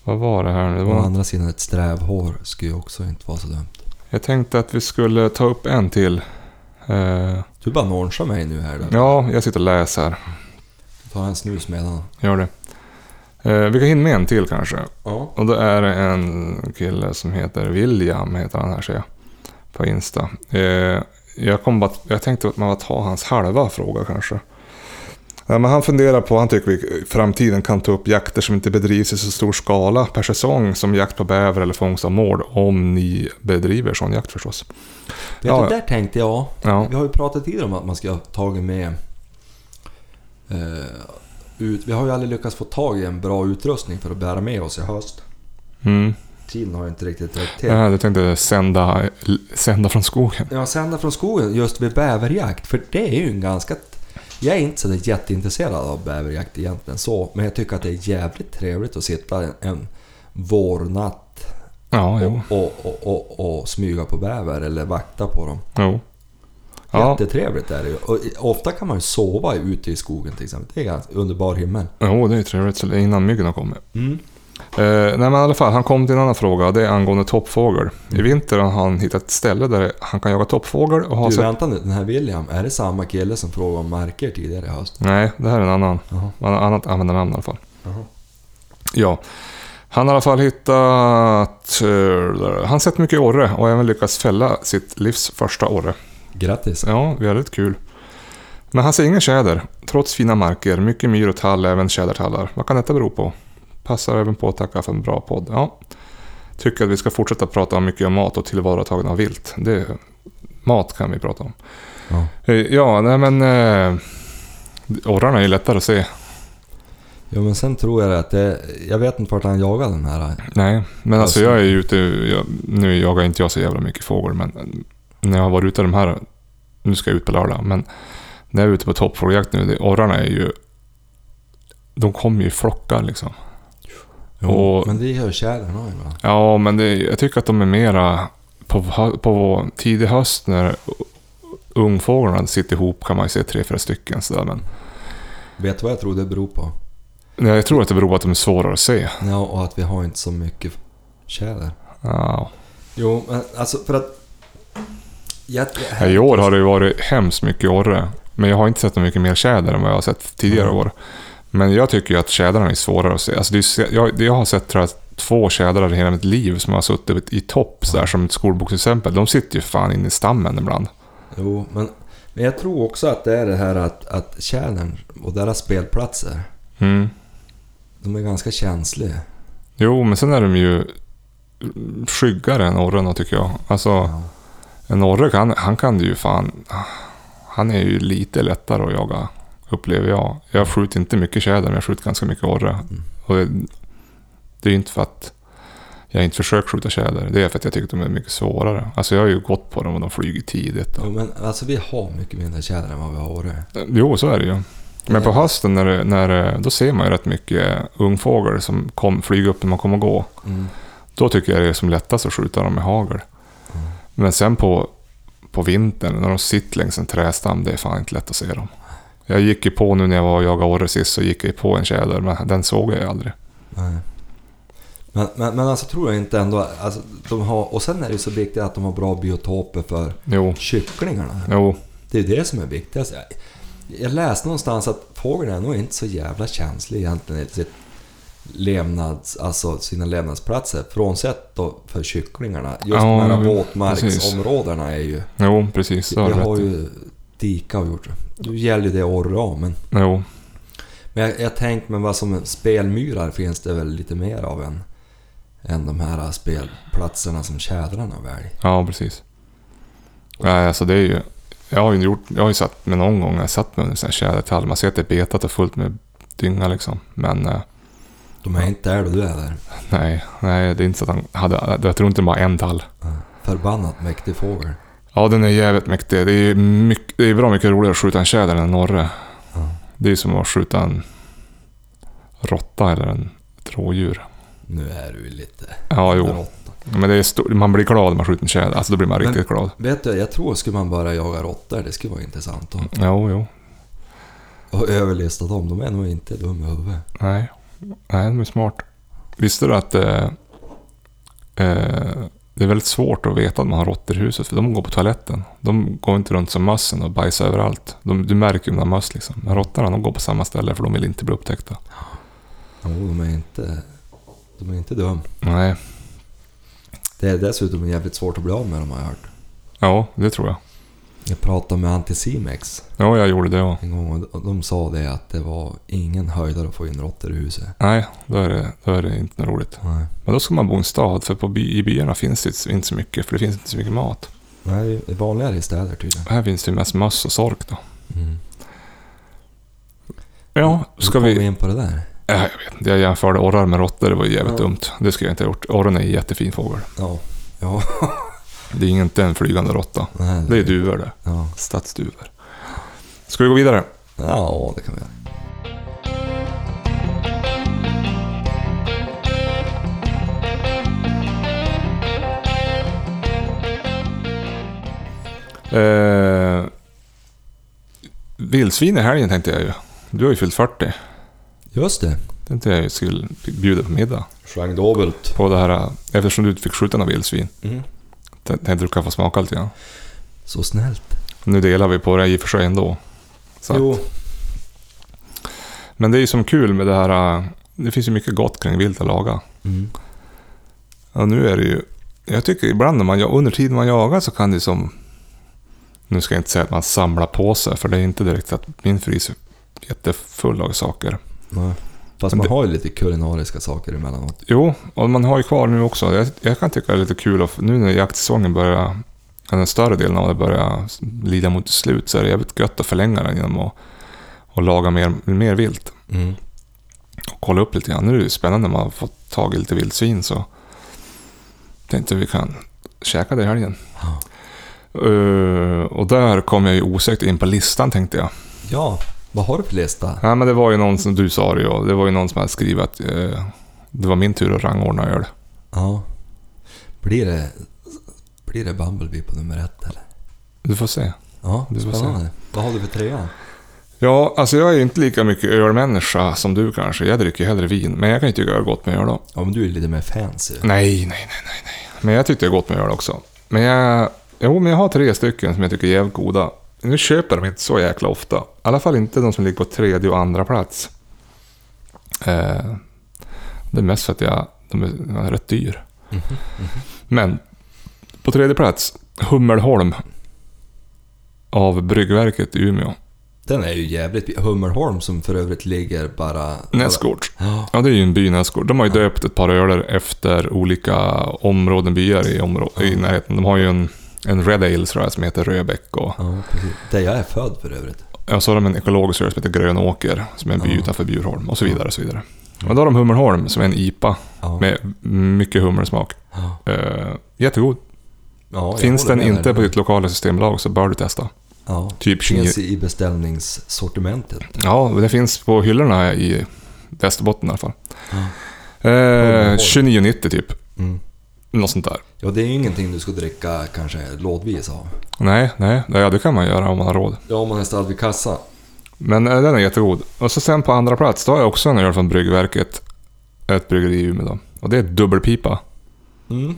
[SPEAKER 2] vad var det här nu? Det var
[SPEAKER 1] Å
[SPEAKER 2] någon,
[SPEAKER 1] andra sidan ett strävhår skulle ju också inte vara så dumt.
[SPEAKER 2] jag tänkte att vi skulle ta upp en till. Eh,
[SPEAKER 1] Du bara nonchar mig nu här. Då.
[SPEAKER 2] ja, jag sitter och läser.
[SPEAKER 1] Ta en snus medan.
[SPEAKER 2] Gör det. Eh, vi kan hinna med en till kanske.
[SPEAKER 1] Ja.
[SPEAKER 2] Och då är det en kille som heter William, heter han här ser jag. På Insta. Eh, jag, kom bara, jag tänkte att man var ta hans halva fråga kanske. Ja, men han funderar på, han tycker vi i framtiden kan ta upp jakter som inte bedrivs i så stor skala per säsong som jakt på bäver eller fångst av mård. Om ni bedriver sån jakt förstås.
[SPEAKER 1] Vet du,
[SPEAKER 2] Ja, ja.
[SPEAKER 1] där tänkte jag.
[SPEAKER 2] Ja,
[SPEAKER 1] Vi har ju pratat tidigare om att man ska ha tagit med... Eh, ut, vi har ju aldrig lyckats få tag i en bra utrustning för att bära med oss i höst.
[SPEAKER 2] mm.
[SPEAKER 1] Tiden har ju inte riktigt räckt till.
[SPEAKER 2] ja du tänkte sända, sända från skogen.
[SPEAKER 1] Ja, sända från skogen just vid bäverjakt, för det är ju en ganska... Jag är inte sådär jätteintresserad av bäverjakt egentligen så, men jag tycker att det är jävligt trevligt att sitta en, en vårnatt
[SPEAKER 2] Ja,
[SPEAKER 1] och,
[SPEAKER 2] jo.
[SPEAKER 1] och, och, och, och smyga på bäver eller vakta på dem.
[SPEAKER 2] jo. Ja,
[SPEAKER 1] Jättetrevligt är det ju. Och i- ofta kan man ju sova ute i skogen till exempel. Det är ganska underbar himmel.
[SPEAKER 2] jo, det är ju trevligt så innan myggen har kommit.
[SPEAKER 1] Mm.
[SPEAKER 2] Eh, nej men i alla fall, han kom till en annan fråga. Det är angående toppfågel.
[SPEAKER 1] Mm.
[SPEAKER 2] I vinter har han hittat ett ställe där han kan jaga toppfågel och ha
[SPEAKER 1] Du,
[SPEAKER 2] sett...
[SPEAKER 1] vänta nu. Den här William, är det samma kille som frågade om marker tidigare i höst?
[SPEAKER 2] Nej, det här är en annan.
[SPEAKER 1] Jaha.
[SPEAKER 2] Han har annat användarnamn i alla fall.
[SPEAKER 1] Jaha.
[SPEAKER 2] Ja. Han har i alla fall hittat... eh, han har sett mycket orre och även lyckats fälla sitt livs första orre.
[SPEAKER 1] Grattis.
[SPEAKER 2] Ja, väldigt kul. Men han ser ingen tjäder, trots fina marker. Mycket myr och tall, även tjädertallar. Vad kan detta bero på? Passar även på att tacka för en bra podd. Ja. Tycker att vi ska fortsätta prata om mycket om mat och tillvaratagande av vilt. Det, mat kan vi prata om.
[SPEAKER 1] Ja.
[SPEAKER 2] Eh, Ja, nej men... Eh, orrarna är ju lättare att se.
[SPEAKER 1] Jo, men sen tror jag att det... Jag vet inte vart han jagade den här.
[SPEAKER 2] Nej, men alltså
[SPEAKER 1] Alltså-
[SPEAKER 2] jag är ju ute... Jag, nu jagar inte jag så jävla mycket fågel, men... När jag har varit ute de här... Nu ska jag ut på lördag, men... När jag är ute på toppfågeljakt nu, det, orrarna är ju... De kommer ju i flockar liksom. Och-
[SPEAKER 1] Men det gör tjädern också ibland.
[SPEAKER 2] Ja, men det, jag tycker att de är mera... På, hö- på tidig höst när ungfåglarna sitter ihop kan man ju se tre, fyra stycken sådär. Men
[SPEAKER 1] Vet du vad jag tror det beror på?
[SPEAKER 2] nej, jag tror att det beror på att de är svårare att se.
[SPEAKER 1] Ja, och att vi har inte så mycket tjäder.
[SPEAKER 2] Ja.
[SPEAKER 1] Jo, men alltså för att... Jag,
[SPEAKER 2] Ja, I år har det ju varit hemskt mycket orre. Men jag har inte sett så mycket mer tjäder än vad jag har sett tidigare
[SPEAKER 1] Mm.
[SPEAKER 2] år. Men jag tycker ju att tjädrarna är svårare att se. Alltså det är, se- jag, jag har sett tror jag, två tjädrar i hela mitt liv som har suttit i topp, så där, som ett skolboksexempel. De sitter ju fan inne i stammen ibland.
[SPEAKER 1] Jo, men, men jag tror också att det är det här att, att tjädern och deras spelplatser,
[SPEAKER 2] Mm.
[SPEAKER 1] de är ganska känsliga.
[SPEAKER 2] Jo, men sen är de ju skyggare än orrarna tycker jag. Alltså,
[SPEAKER 1] Ja.
[SPEAKER 2] en orre kan, han kan ju fan... Han är ju lite lättare att jaga, upplever jag. Jag skjuter inte mycket tjäder, men jag skjuter ganska mycket orre. Och det, det är ju inte för att jag inte försöker skjuta tjäder. Det är för att jag tycker att de är mycket svårare. Alltså jag har ju gått på dem och de flyger tidigt.
[SPEAKER 1] Jo,
[SPEAKER 2] Och,
[SPEAKER 1] men alltså vi har mycket mindre tjäder än vad vi har orre.
[SPEAKER 2] jo, så är det ju. Men på hösten när, det- när, det- då ser man ju rätt mycket ungfågel som kom, flyger upp när man kommer att gå.
[SPEAKER 1] Mm.
[SPEAKER 2] Då tycker jag det är som lättast att skjuta dem med hagel.
[SPEAKER 1] Mm.
[SPEAKER 2] Men sen på, på vintern när de sitter längs en trädstam, det är fan inte lätt att se dem. Jag gick ju på nu när jag var och jagade orre sist, så gick jag ju på en tjäder, men den såg jag ju aldrig.
[SPEAKER 1] Nej. Men, men, men alltså tror jag inte ändå... Alltså, de har, och sen är det ju så viktigt att de har bra biotoper för
[SPEAKER 2] Jo,
[SPEAKER 1] kycklingarna.
[SPEAKER 2] jo,
[SPEAKER 1] Det är ju det som är viktigast. Jag, jag läste någonstans att fågeln är nog inte så jävla känslig egentligen i sitt levnads, alltså sina levnadsplatser. Frånsett då för kycklingarna. Just
[SPEAKER 2] Ja,
[SPEAKER 1] de här
[SPEAKER 2] jo,
[SPEAKER 1] våtmarksområdena är ju...
[SPEAKER 2] jo, precis. Det har
[SPEAKER 1] Det
[SPEAKER 2] du
[SPEAKER 1] har
[SPEAKER 2] rätt i.
[SPEAKER 1] ju dika och gjort. Nu gäller ju det orre om, men...
[SPEAKER 2] Jo,
[SPEAKER 1] Men jag, jag tänkte, men vad som spelmyrar finns det väl lite mer av än, än de här spelplatserna som tjädrarna väljer.
[SPEAKER 2] ja precis. Nej, alltså det är ju... Jag har ju, gjort, jag har ju satt mig någon gång, jag har satt mig under en sån här tjädertall. Man ser att det är betat och fullt med dynga liksom. Men eh,
[SPEAKER 1] De är inte där då du är där.
[SPEAKER 2] nej, nej, det är inte så att han hade... Jag tror inte det var en tall.
[SPEAKER 1] Förbannat mäktig fågel.
[SPEAKER 2] Ja, den är jävligt mäktig. Det är, ju mycket, det är bra mycket roligare att skjuta en tjäder än en orre.
[SPEAKER 1] Ja.
[SPEAKER 2] Det är som att skjuta en råtta eller en, ett rådjur.
[SPEAKER 1] Nu är du ju lite...
[SPEAKER 2] Ja, jo.
[SPEAKER 1] råtta.
[SPEAKER 2] Men det är stor, man blir glad när man skjuter en tjäder. Alltså, då blir man
[SPEAKER 1] Men-
[SPEAKER 2] riktigt glad.
[SPEAKER 1] Vet du, jag tror skulle man börja jaga råttor, det skulle vara intressant att
[SPEAKER 2] Jo, jo.
[SPEAKER 1] och överlista dem. De är nog inte dumma i huvudet.
[SPEAKER 2] Nej, Nej den är smart. Visste du att eh, eh, det är väldigt svårt att veta att man har råttor i huset för de går på toaletten. De går inte runt som mössen och bajsar överallt. De, du märker ju när möss liksom. Men råttorna de går på samma ställe för de vill inte bli upptäckta.
[SPEAKER 1] Jo, de är inte... De är inte dum.
[SPEAKER 2] Nej,
[SPEAKER 1] Det är dessutom jävligt svårt att bli av med dem har jag hört.
[SPEAKER 2] ja det tror jag.
[SPEAKER 1] Jag pratade med Anticimex
[SPEAKER 2] Ja, jag gjorde det också.
[SPEAKER 1] en gång och de sa det att det var ingen höjdare att få in råttor i huset.
[SPEAKER 2] Nej, då är, det, då är det inte något roligt.
[SPEAKER 1] Nej.
[SPEAKER 2] Men då ska man bo i en stad, för på by, i byarna finns det inte så mycket, för det finns inte så mycket mat.
[SPEAKER 1] Nej, det är vanligare i städer tydligen.
[SPEAKER 2] Här finns det ju mest möss och sork då.
[SPEAKER 1] Mm.
[SPEAKER 2] Ja, ska
[SPEAKER 1] Hur kom
[SPEAKER 2] vi...
[SPEAKER 1] in på det där?
[SPEAKER 2] Äh, jag vet inte, jag jämförde orrar med råttor, det var ju jävligt
[SPEAKER 1] Ja.
[SPEAKER 2] dumt. Det skulle jag inte ha gjort. Orren är en jättefin fågel.
[SPEAKER 1] Ja. Ja.
[SPEAKER 2] Det är inte en flygande råtta.
[SPEAKER 1] *laughs* Nej.
[SPEAKER 2] Det är duvor det.
[SPEAKER 1] Ja.
[SPEAKER 2] Stadsduvor. Ska vi gå vidare?
[SPEAKER 1] ja, det kan vi göra.
[SPEAKER 2] Eh, vildsvin i helgen tänkte jag ju. Du har ju fyllt 40.
[SPEAKER 1] Just det.
[SPEAKER 2] Tänkte jag ju skulle bjuda på middag.
[SPEAKER 1] Jean Dobelt.
[SPEAKER 2] på det här, eftersom du inte fick skjuta några vildsvin.
[SPEAKER 1] Mm.
[SPEAKER 2] Tänkte du kan få smaka lite grann.
[SPEAKER 1] Så snällt.
[SPEAKER 2] Nu delar vi på det i och för sig ändå. Så att, men det är ju som kul med det här, äh, det finns ju mycket gott kring vilt att laga.
[SPEAKER 1] Mm.
[SPEAKER 2] Och nu är det ju, jag tycker ibland när man, under tiden man jagar så kan det som, nu ska jag inte säga att man samlar på sig, för det är inte direkt att min frys är jättefull av saker.
[SPEAKER 1] Nej. Fast
[SPEAKER 2] Men
[SPEAKER 1] man
[SPEAKER 2] det-
[SPEAKER 1] har ju lite kulinariska saker emellanåt.
[SPEAKER 2] Jo, och man har ju kvar nu också. Jag, jag kan tycka det är lite kul att nu när jaktsäsongen börjar, eller den större delen av det börjar lida mot sitt slut, så är det jävligt gött att förlänga den genom att, att laga mer, mer vilt.
[SPEAKER 1] Mm.
[SPEAKER 2] Och kolla upp lite grann. Nu är det ju spännande när man har fått tag i lite vildsvin så tänkte vi kan käka det i helgen.
[SPEAKER 1] Ja.
[SPEAKER 2] Eh, och där kom jag ju osökt in på listan tänkte jag.
[SPEAKER 1] ja, vad har du för lista?
[SPEAKER 2] Nej men det var ju någon som, du sa det ju, det var ju någon som hade skrivit att eh, det var min tur att rangordna öl.
[SPEAKER 1] Ja. Blir det, blir det Bumblebee på nummer ett eller?
[SPEAKER 2] Du får se.
[SPEAKER 1] Ja,
[SPEAKER 2] Du får se.
[SPEAKER 1] spännande. Vad har du för trea?
[SPEAKER 2] Ja, alltså jag är ju inte lika mycket ölmänniska som du kanske. Jag dricker ju hellre vin, men jag kan ju tycka det är gott med öl då.
[SPEAKER 1] Ja, men du är lite mer fancy.
[SPEAKER 2] Nej, nej, nej, nej, nej. Men jag tyckte det är gott med öl också. Men jag... Jo, men jag har tre stycken som jag tycker är jävligt goda. Nu köper de inte så jäkla ofta. I alla fall inte de som ligger på tredje och andra plats. Eh, det är mest för att jag, de är, de är rätt dyr. Men på tredje plats, Hummelholm. Av Bryggverket i Umeå.
[SPEAKER 1] Den är ju jävligt... Hummerholm som för övrigt ligger bara...
[SPEAKER 2] Näsgårds.
[SPEAKER 1] Ja.
[SPEAKER 2] Ja, det är ju en by Näsgård. De har ju döpt ett par öler efter olika områden, byar i, områ- i närheten. De har ju en, en Red Ale tror jag, som heter Röbäck och,
[SPEAKER 1] ja, precis. Där jag är född för övrigt.
[SPEAKER 2] och så har de en ekologisk öl som heter Grönåker, som är en by
[SPEAKER 1] Ja.
[SPEAKER 2] utanför Bjurholm och så vidare. Och så vidare. Och då har de Hummerholm, som är en IPA
[SPEAKER 1] Ja.
[SPEAKER 2] med mycket hummersmak.
[SPEAKER 1] Ja.
[SPEAKER 2] Eh, jättegod.
[SPEAKER 1] Ja, jag
[SPEAKER 2] Finns
[SPEAKER 1] håller med
[SPEAKER 2] den inte
[SPEAKER 1] där.
[SPEAKER 2] på ditt lokala systembolag så bör du testa.
[SPEAKER 1] Ja.
[SPEAKER 2] Typ 20.
[SPEAKER 1] Finns i beställningssortimentet.
[SPEAKER 2] Ja, det finns på hyllorna i Västerbotten i alla fall.
[SPEAKER 1] Ja.
[SPEAKER 2] Eh, 29,90 typ.
[SPEAKER 1] Mm.
[SPEAKER 2] Något sånt där.
[SPEAKER 1] Ja, det är ju ingenting du ska dricka kanske lådvis av.
[SPEAKER 2] Nej, nej, ja, det kan man göra om man har råd.
[SPEAKER 1] Ja, om man är ställd vid kassa.
[SPEAKER 2] Men eh, den är jättegod. Och så sen på andra plats, då har jag också en öl från Bryggverket. Ett bryggeri i Umeå. då. Och det är dubbelpipa.
[SPEAKER 1] Mm.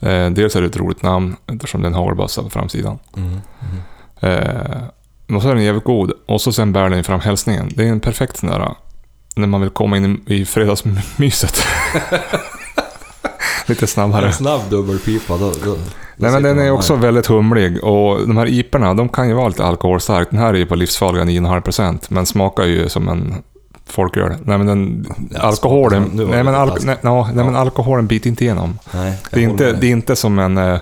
[SPEAKER 2] Eh, dels är det ett roligt namn eftersom det är en hagelbössa på framsidan.
[SPEAKER 1] Mm.
[SPEAKER 2] Eh, men så är den jävligt god. Och så sen bär den fram hälsningen. Det är en perfekt sån där eh, när man vill komma in i i fredagsmyset. *laughs* Lite snabbare.
[SPEAKER 1] En snabb dubbelpipa, då, då, då
[SPEAKER 2] Mm. Nej, men
[SPEAKER 1] sitter
[SPEAKER 2] den
[SPEAKER 1] man
[SPEAKER 2] är
[SPEAKER 1] där.
[SPEAKER 2] också väldigt humlig och de här iperna, de kan ju vara lite alkoholstark. Den här är ju på livsfarliga 9,5% men smakar ju som en folköl. Nej men den,
[SPEAKER 1] Ja,
[SPEAKER 2] alkoholen,
[SPEAKER 1] nu var det
[SPEAKER 2] nej, men
[SPEAKER 1] lite
[SPEAKER 2] alko,
[SPEAKER 1] taskigt.
[SPEAKER 2] nej, ja, nej men alkoholen biter inte igenom.
[SPEAKER 1] Nej,
[SPEAKER 2] Det är
[SPEAKER 1] jag
[SPEAKER 2] inte,
[SPEAKER 1] håller med.
[SPEAKER 2] det är inte som en, eh,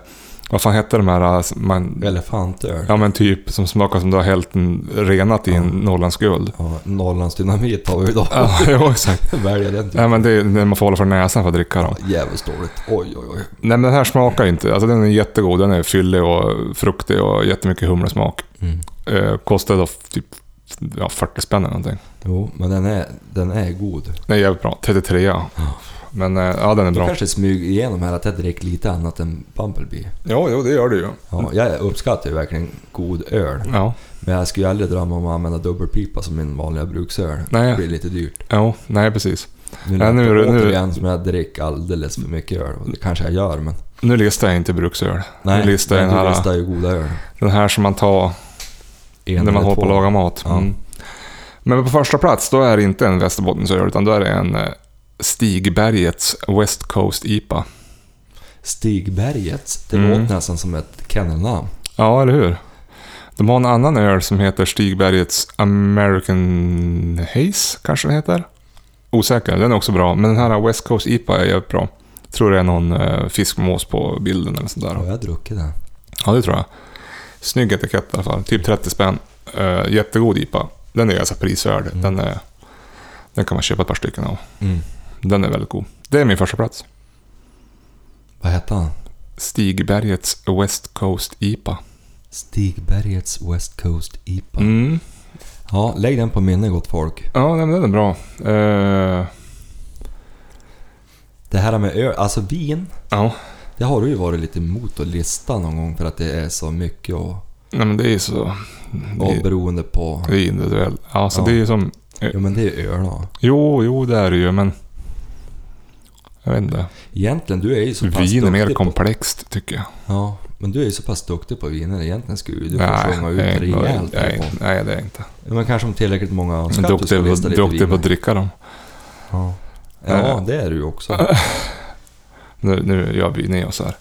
[SPEAKER 2] vad fan hette de här, eh, som man,
[SPEAKER 1] Elefantöl. Ja.
[SPEAKER 2] ja men typ som smakar som du har hällt en, renat i en Norrlands guld.
[SPEAKER 1] Norrlandsdynamit har vi idag. *laughs*
[SPEAKER 2] Ja, *laughs* jo, exakt.
[SPEAKER 1] Välja den typen.
[SPEAKER 2] Nej men det är när man får hålla för näsan för att dricka dem.
[SPEAKER 1] Jävligt dåligt. Oj, oj, oj.
[SPEAKER 2] Nej men den här smakar inte, alltså den är jättegod, den är fyllig och fruktig och jättemycket humlesmak.
[SPEAKER 1] Mm.
[SPEAKER 2] Eh, kostade då typ ja, 40 spänn eller någonting.
[SPEAKER 1] Jo, men den är, den är god.
[SPEAKER 2] Den är jävligt bra. 33 ja. Men eh, ja, den är
[SPEAKER 1] Det
[SPEAKER 2] bra.
[SPEAKER 1] kanske smyger igenom här att jag dricker lite annat än Bumblebee.
[SPEAKER 2] Ja, jo, det gör du ju.
[SPEAKER 1] Ja, jag uppskattar ju verkligen god öl.
[SPEAKER 2] Ja,
[SPEAKER 1] Men jag skulle ju aldrig drömma om att använda dubbelpipa som min vanliga bruksöl. Det
[SPEAKER 2] nej,
[SPEAKER 1] blir lite dyrt.
[SPEAKER 2] jo, nej precis.
[SPEAKER 1] Nu
[SPEAKER 2] Ja,
[SPEAKER 1] lät
[SPEAKER 2] nu-
[SPEAKER 1] det
[SPEAKER 2] nu-
[SPEAKER 1] återigen som jag dricker alldeles för mycket öl. Och det kanske jag gör, men...
[SPEAKER 2] Nu listar jag inte bruksöl.
[SPEAKER 1] Nej,
[SPEAKER 2] nu listar jag
[SPEAKER 1] men
[SPEAKER 2] den
[SPEAKER 1] du
[SPEAKER 2] här,
[SPEAKER 1] listar ju goda öl.
[SPEAKER 2] den här som man tar
[SPEAKER 1] En
[SPEAKER 2] när
[SPEAKER 1] eller
[SPEAKER 2] man håller på
[SPEAKER 1] två.
[SPEAKER 2] att laga mat.
[SPEAKER 1] Ja.
[SPEAKER 2] Mm. Men på första plats, då är det inte en Västerbottensöl, utan då är det en eh, Stigbergets West Coast IPA.
[SPEAKER 1] Stigbergets. Det
[SPEAKER 2] Mm.
[SPEAKER 1] låter nästan som ett kennelnamn.
[SPEAKER 2] Ja, eller hur? De har en annan öl som heter Stigbergets American Haze, kanske den heter. Osäker, den är också bra. Men den här West Coast IPA är jävligt bra. Tror det är någon eh, fiskmås på bilden eller sådär.
[SPEAKER 1] Har jag druckit den?
[SPEAKER 2] Ja, det tror jag. Snygg etikett i alla fall. Typ 30 spänn. Eh, jättegod IPA. Den är ganska prisvärd.
[SPEAKER 1] Mm.
[SPEAKER 2] Den, är, den kan man köpa ett par stycken av.
[SPEAKER 1] Mm.
[SPEAKER 2] Den är väldigt god. Det är min första plats.
[SPEAKER 1] Vad hette han?
[SPEAKER 2] Stigbergets West Coast IPA.
[SPEAKER 1] Stigbergets West Coast IPA.
[SPEAKER 2] Mm.
[SPEAKER 1] Ja, lägg den på minne gott folk.
[SPEAKER 2] Ja, nej, men den är bra. Eh,
[SPEAKER 1] Det här med öl, alltså vin.
[SPEAKER 2] ja.
[SPEAKER 1] Det har du ju varit lite emot att lista någon gång för att det är så mycket och,
[SPEAKER 2] Nej men det är ju så...
[SPEAKER 1] och
[SPEAKER 2] Det,
[SPEAKER 1] beroende på...
[SPEAKER 2] det är individuellt. Alltså
[SPEAKER 1] Ja.
[SPEAKER 2] det är ju som...
[SPEAKER 1] Jo men det är ju öl då.
[SPEAKER 2] Jo, jo det är det ju men... Jag vet inte.
[SPEAKER 1] Egentligen, du är ju så pass
[SPEAKER 2] Vin är mer
[SPEAKER 1] duktig på-
[SPEAKER 2] komplext tycker jag.
[SPEAKER 1] Ja, men du är ju så pass duktig på viner. Egentligen skulle ju du få
[SPEAKER 2] nej,
[SPEAKER 1] sjunga ut
[SPEAKER 2] nej,
[SPEAKER 1] rejält.
[SPEAKER 2] nej,
[SPEAKER 1] här på.
[SPEAKER 2] nej, nej, det är jag inte.
[SPEAKER 1] Men kanske om tillräckligt många önskar att du
[SPEAKER 2] Duktig,
[SPEAKER 1] skulle lista
[SPEAKER 2] på,
[SPEAKER 1] lite
[SPEAKER 2] duktig på
[SPEAKER 1] viner.
[SPEAKER 2] att dricka dem.
[SPEAKER 1] Ja. ja,
[SPEAKER 2] Eh.
[SPEAKER 1] det är du ju *laughs* också.
[SPEAKER 2] Nu, nu gör vi ner oss här.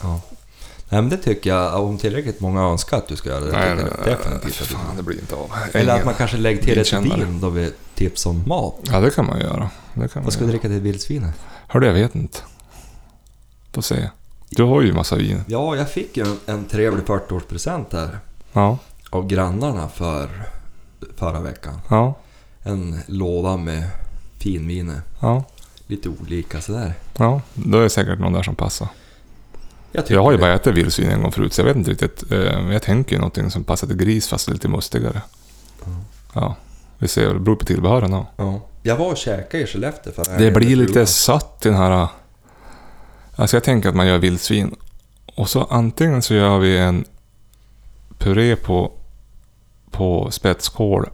[SPEAKER 1] Ja. Nej men det tycker jag, om tillräckligt många önskar att du ska göra det,
[SPEAKER 2] nej,
[SPEAKER 1] tycker jag definitivt att du
[SPEAKER 2] fan, det blir inte av.
[SPEAKER 1] Eller att
[SPEAKER 2] Ingen-
[SPEAKER 1] man kanske lägger till ett
[SPEAKER 2] vinkännare.
[SPEAKER 1] vin då vi tips om mat.
[SPEAKER 2] Ja, det kan man göra. Det kan man
[SPEAKER 1] Vad ska vi
[SPEAKER 2] göra.
[SPEAKER 1] dricka till vildsvinet?
[SPEAKER 2] Hörde, jag vet inte. Får se. Du har ju massa vin.
[SPEAKER 1] Ja, jag fick ju en, en trevlig 40-årspresent här
[SPEAKER 2] Ja,
[SPEAKER 1] av grannarna för förra veckan.
[SPEAKER 2] ja,
[SPEAKER 1] En låda med finviner.
[SPEAKER 2] ja.
[SPEAKER 1] Lite olika sådär.
[SPEAKER 2] Ja, då är det säkert någon där som passar.
[SPEAKER 1] Jag, tycker
[SPEAKER 2] Jag har ju
[SPEAKER 1] det.
[SPEAKER 2] bara ätit vildsvin en gång förut, så jag vet inte riktigt. Eh, Jag tänker ju någonting som passar till gris, fast lite mustigare. Ja, vi ser. Det beror på tillbehören då.
[SPEAKER 1] Ja. Jag var och käkade i Skellefteå förra
[SPEAKER 2] Det
[SPEAKER 1] helgen
[SPEAKER 2] blir
[SPEAKER 1] med frugan.
[SPEAKER 2] lite sött i den här... eh, Alltså jag tänker att man gör vildsvin. Och så antingen så gör vi en puré på, på spetskål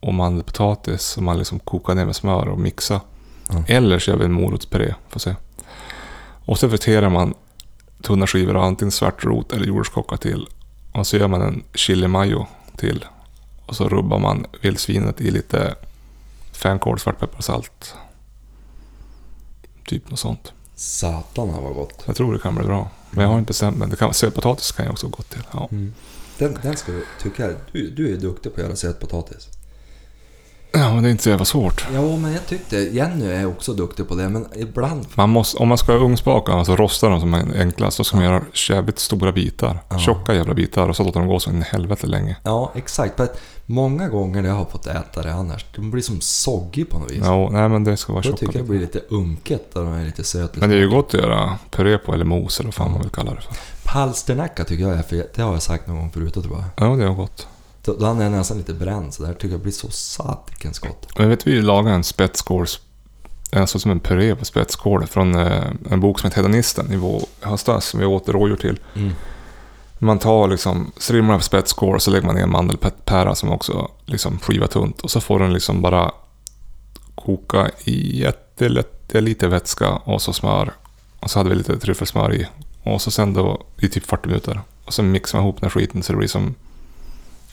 [SPEAKER 2] och mandelpotatis som man liksom kokar ner med smör och mixar.
[SPEAKER 1] Ja.
[SPEAKER 2] Eller så gör vi en morotspuré. Får se. Och så friterar man tunna skivor av antingen svärtrot eller jordgubbskocka till. Och så gör man en chili mayo till. Och så rubbar man vildsvinet i lite fänkål, svartpeppar och salt. Typ något sånt.
[SPEAKER 1] Satan vad gott.
[SPEAKER 2] Jag tror det kan bli bra. Men jag har inte bestämt mig. Det kan, sötpotatis kan jag också gå till. Ja.
[SPEAKER 1] Mm. Den, den ska du tycka, du, du är duktig på att göra sötpotatis.
[SPEAKER 2] Ja, men det är inte så jävla svårt.
[SPEAKER 1] Ja, men jag tyckte Jenny är också duktig på det, men ibland...
[SPEAKER 2] Man måste, om man ska ugnsbaka, alltså rosta dem som är enklast, så ska man göra jävligt stora bitar.
[SPEAKER 1] Ja.
[SPEAKER 2] Tjocka jävla bitar och så låter de gå så in i helvete länge.
[SPEAKER 1] Ja, exakt. För att många gånger när jag har fått äta det annars, de blir som soggy på något vis.
[SPEAKER 2] Ja, nej men det ska vara
[SPEAKER 1] Då
[SPEAKER 2] tjocka
[SPEAKER 1] tycker jag det
[SPEAKER 2] bitar.
[SPEAKER 1] blir lite unket och de är lite söta.
[SPEAKER 2] Men det är ju gott att göra puré på eller mos eller vad fan man vill kalla det för.
[SPEAKER 1] Palsternacka tycker jag är för Det har jag sagt någon gång förut tror jag.
[SPEAKER 2] Ja, det är gott.
[SPEAKER 1] Då- Då han är nästan lite bränd så där tycker jag blir så satikens gott.
[SPEAKER 2] Men vet vi laga en spetskåls... Alltså som en puré på spetskål från eh, en bok som heter Hedonisten i vår- i höstas som vi åt rådjur till. Man tar liksom strimlar av spetskål och så lägger man ner mandelpära som också liksom skivar tunt. Och så får den liksom bara koka i jättelätt, lite vätska och så smör. Och så hade vi lite tryffelsmör i. Och så sen då i typ 40 minuter. Och så mixar man ihop den här skiten så det blir som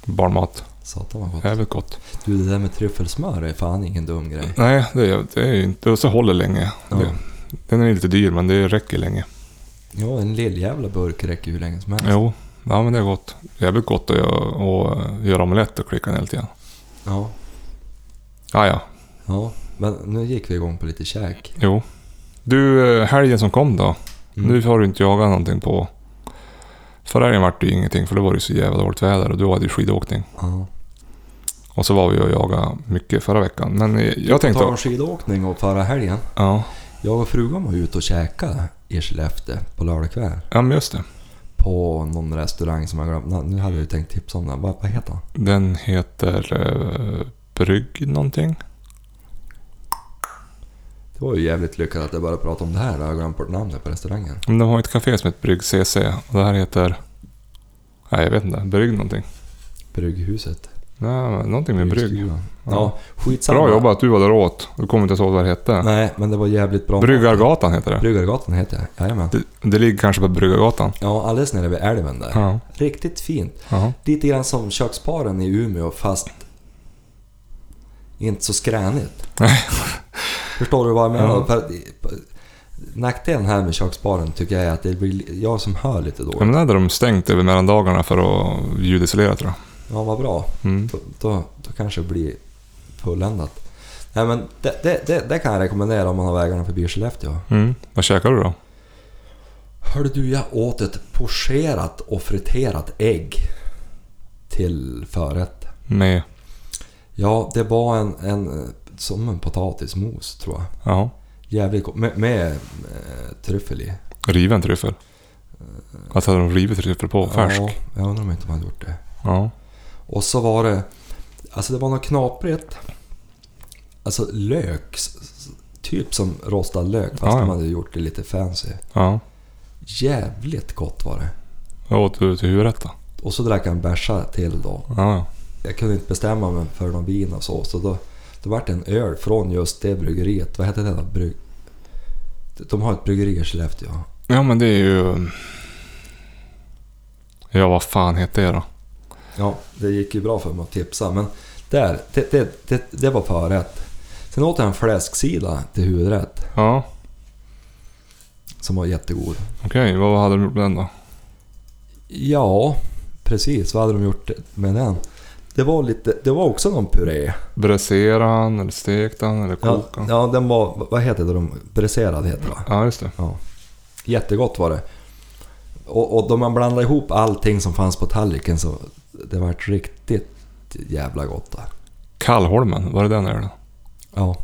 [SPEAKER 2] barnmat.
[SPEAKER 1] Satan vad gott.
[SPEAKER 2] Jävligt gott.
[SPEAKER 1] Du det där med tryffelsmör är fan ingen dum grej.
[SPEAKER 2] Nej, det är, det är ju inte... Och så håller länge.
[SPEAKER 1] Ja.
[SPEAKER 2] Det, den är lite dyr men det räcker länge.
[SPEAKER 1] Ja, en lilljävla burk räcker hur länge som helst.
[SPEAKER 2] Jo, ja, men det är gott. Jävligt gott att göra, att göra omelett och klicka ner lite grann.
[SPEAKER 1] Ja,
[SPEAKER 2] Ah, ja,
[SPEAKER 1] ja. Men nu gick vi igång på lite käk.
[SPEAKER 2] Jo. Du, eh, helgen som kom då.
[SPEAKER 1] Mm.
[SPEAKER 2] Nu har du inte jagat någonting på... Förra helgen vart det ju ingenting för då var det ju så jävla dåligt väder och du hade ju skidåkning.
[SPEAKER 1] Ja.
[SPEAKER 2] Och så var vi och jagade mycket förra veckan. Men eh, jag
[SPEAKER 1] Jag
[SPEAKER 2] tänkte...
[SPEAKER 1] tar en skidåkning och förra helgen.
[SPEAKER 2] Ja,
[SPEAKER 1] Jag och frugan var ute och käkade i Skellefteå på lördag kväll.
[SPEAKER 2] ja men just det.
[SPEAKER 1] På någon restaurang som jag glömde. Nu hade jag ju tänkt tipsa om den. Vad, vad heter han?
[SPEAKER 2] Den heter... Eh, brygg någonting.
[SPEAKER 1] Det var ju jävligt lyckat att jag började prata om det här. Jag har glömt bort namnet på restaurangen.
[SPEAKER 2] Men de har ju ett café som heter Brygg CC. Och det här heter... Nej, jag vet inte. Brygg någonting.
[SPEAKER 1] Brygghuset.
[SPEAKER 2] Nej, men någonting med brygg.
[SPEAKER 1] Ja,
[SPEAKER 2] Ja.
[SPEAKER 1] skitsamma.
[SPEAKER 2] Bra jobbat att du var där och åt. Du kommer inte ens ihåg vad det hette.
[SPEAKER 1] Nej, men det var jävligt bra.
[SPEAKER 2] Bryggargatan heter det.
[SPEAKER 1] Bryggargatan heter det. Jajamän.
[SPEAKER 2] Det, det ligger kanske på Bryggargatan.
[SPEAKER 1] Ja, alldeles nere vid älven där.
[SPEAKER 2] Ja.
[SPEAKER 1] Riktigt fint.
[SPEAKER 2] ja.
[SPEAKER 1] Lite grann som köksparen i Umeå fast inte så skränigt.
[SPEAKER 2] Nej.
[SPEAKER 1] Förstår du vad jag menar?
[SPEAKER 2] Ja.
[SPEAKER 1] För att- Nackdelen här med köksbaren tycker jag är att det blir jag som hör lite
[SPEAKER 2] Ja, *laughs* men
[SPEAKER 1] dåligt.
[SPEAKER 2] det hade de stängt över mellandagarna för att ljudisolera tror
[SPEAKER 1] Ja, vad bra.
[SPEAKER 2] jag. Mm.
[SPEAKER 1] Då, då, då kanske det blir fulländat. Nej men det, det, det, det kan jag rekommendera om man har vägarna förbi Skellefteå.
[SPEAKER 2] Mm. Vad käkar du då?
[SPEAKER 1] Hörde du, jag åt ett pocherat och friterat ägg till förrätt.
[SPEAKER 2] Med...
[SPEAKER 1] Ja, det var en, en eh, som en potatismos tror jag.
[SPEAKER 2] Ja.
[SPEAKER 1] Jävligt gott. Med, med eh, tryffel i.
[SPEAKER 2] Riven tryffel. Alltså hade de rivit tryffel på färsk?
[SPEAKER 1] Ja,
[SPEAKER 2] Ja.
[SPEAKER 1] jag undrar om inte man gjort det. Och så var det... Alltså det var något knaprigt. Alltså lök. s- s- Typ som rostad lök fast
[SPEAKER 2] Ja, ja.
[SPEAKER 1] man hade gjort det lite fancy.
[SPEAKER 2] ja.
[SPEAKER 1] Jävligt gott var det.
[SPEAKER 2] Vad åt du till huvudrätt då?
[SPEAKER 1] Och så drack jag en bärsa till då.
[SPEAKER 2] Ja, ja.
[SPEAKER 1] jag kunde inte bestämma mig för någon vin och så. Så då, då vart det en öl från just det bryggeriet. Vad hette det då? Brygg... De har ett bryggeri i Skellefteå.
[SPEAKER 2] Ja men det är ju... Ja vad fan heter det då?
[SPEAKER 1] Ja, det gick ju bra för mig att tipsa. Men där, det, det, det, det var förrätt. Sen åt jag en fläsksida till huvudrätt
[SPEAKER 2] Ja.
[SPEAKER 1] som var jättegod.
[SPEAKER 2] Okej, vad hade de gjort med den då?
[SPEAKER 1] Ja, precis. Vad hade de gjort med den? Det var, lite, det var också någon puré.
[SPEAKER 2] Bräsera han eller stekte han eller
[SPEAKER 1] Ja,
[SPEAKER 2] kokade han? Ja.
[SPEAKER 1] ja, den var... Vad heter det? De, bräserad heter det va?
[SPEAKER 2] just det.
[SPEAKER 1] Jättegott var det. Och, och då man blandade ihop allting som fanns på tallriken så det vart riktigt jävla gott. Där.
[SPEAKER 2] Kallholmen, var det den ölen?
[SPEAKER 1] Ja.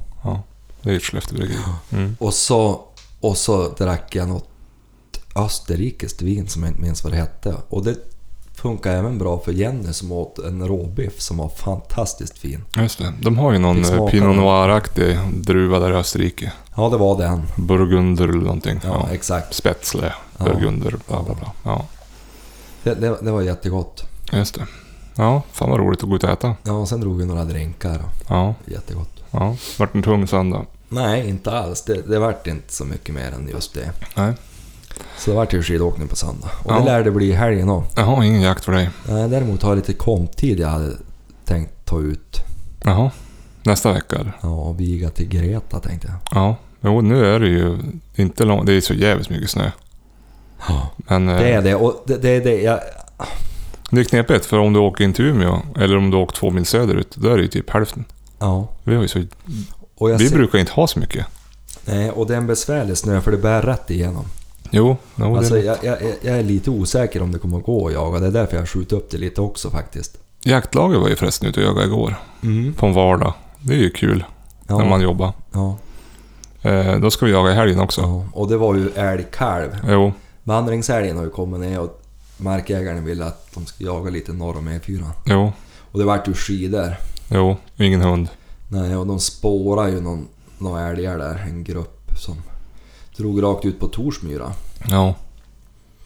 [SPEAKER 2] Det är ju ett Skellefteå bryggeri. Mm.
[SPEAKER 1] Och så, och så drack jag något österrikiskt vin som jag inte minns vad det hette. Och det funkar även bra för Jenny som åt en råbiff som var fantastiskt fin.
[SPEAKER 2] Just det. De har ju någon
[SPEAKER 1] Fick
[SPEAKER 2] eh,
[SPEAKER 1] smaka
[SPEAKER 2] Pinot
[SPEAKER 1] den.
[SPEAKER 2] Noir-aktig druva där i Österrike.
[SPEAKER 1] Ja, det var den.
[SPEAKER 2] Burgunder eller någonting.
[SPEAKER 1] Ja,
[SPEAKER 2] Ja.
[SPEAKER 1] exakt.
[SPEAKER 2] Spätzle,
[SPEAKER 1] Ja.
[SPEAKER 2] Burgunder, bla bla bla. Ja,
[SPEAKER 1] Det, det, det var jättegott.
[SPEAKER 2] just det. Ja, fan vad roligt att gå ut och äta.
[SPEAKER 1] Ja, och sen drog vi några drinkar.
[SPEAKER 2] Ja,
[SPEAKER 1] Jättegott.
[SPEAKER 2] ja. Vart en tung söndag.
[SPEAKER 1] Nej, inte alls. Det, det vart inte så mycket mer än just det.
[SPEAKER 2] Nej.
[SPEAKER 1] Så det vart ju skidåkning på söndag. Och
[SPEAKER 2] Ja.
[SPEAKER 1] det lär det bli i helgen också.
[SPEAKER 2] Jaha, ingen jakt för dig.
[SPEAKER 1] Nej, Däremot har jag lite komptid jag hade tänkt ta ut.
[SPEAKER 2] Jaha. Nästa vecka eller?
[SPEAKER 1] Ja, och viga till Greta tänkte jag.
[SPEAKER 2] Ja. Jo, nu är det ju inte långt. Det är så jävligt mycket snö.
[SPEAKER 1] Ja.
[SPEAKER 2] Men eh,
[SPEAKER 1] Det är det. Och det, det är det jag...
[SPEAKER 2] det är knepigt, för om du åker in till Umeå eller om du åker två mil söderut, då är det ju typ hälften.
[SPEAKER 1] Ja.
[SPEAKER 2] Vi, har ju så,
[SPEAKER 1] Och jag
[SPEAKER 2] vi
[SPEAKER 1] ser-
[SPEAKER 2] brukar inte ha så mycket.
[SPEAKER 1] Nej, och det är en besvärlig snö för det bär rätt igenom.
[SPEAKER 2] Jo, no, det-
[SPEAKER 1] Alltså, jag, jag, jag är lite osäker om det kommer att gå att jaga. Det är därför jag skjuter upp det lite också faktiskt.
[SPEAKER 2] jaktlaget var ju förresten ute och jagade igår. På en vardag. Det är ju kul
[SPEAKER 1] Ja,
[SPEAKER 2] Mm. när man jobbar.
[SPEAKER 1] ja,
[SPEAKER 2] Eh, då ska vi jaga i helgen också.
[SPEAKER 1] ja. Och det var ju älgkalv.
[SPEAKER 2] Jo,
[SPEAKER 1] Vandringsälgen har ju kommit ner och markägaren ville att de ska jaga lite norr om E4.
[SPEAKER 2] jo,
[SPEAKER 1] Och det vart ju skidor.
[SPEAKER 2] jo. Ingen hund.
[SPEAKER 1] Nej, och de spårar ju någon, några älgar där, en grupp som drog rakt ut på Torsmyra.
[SPEAKER 2] Ja.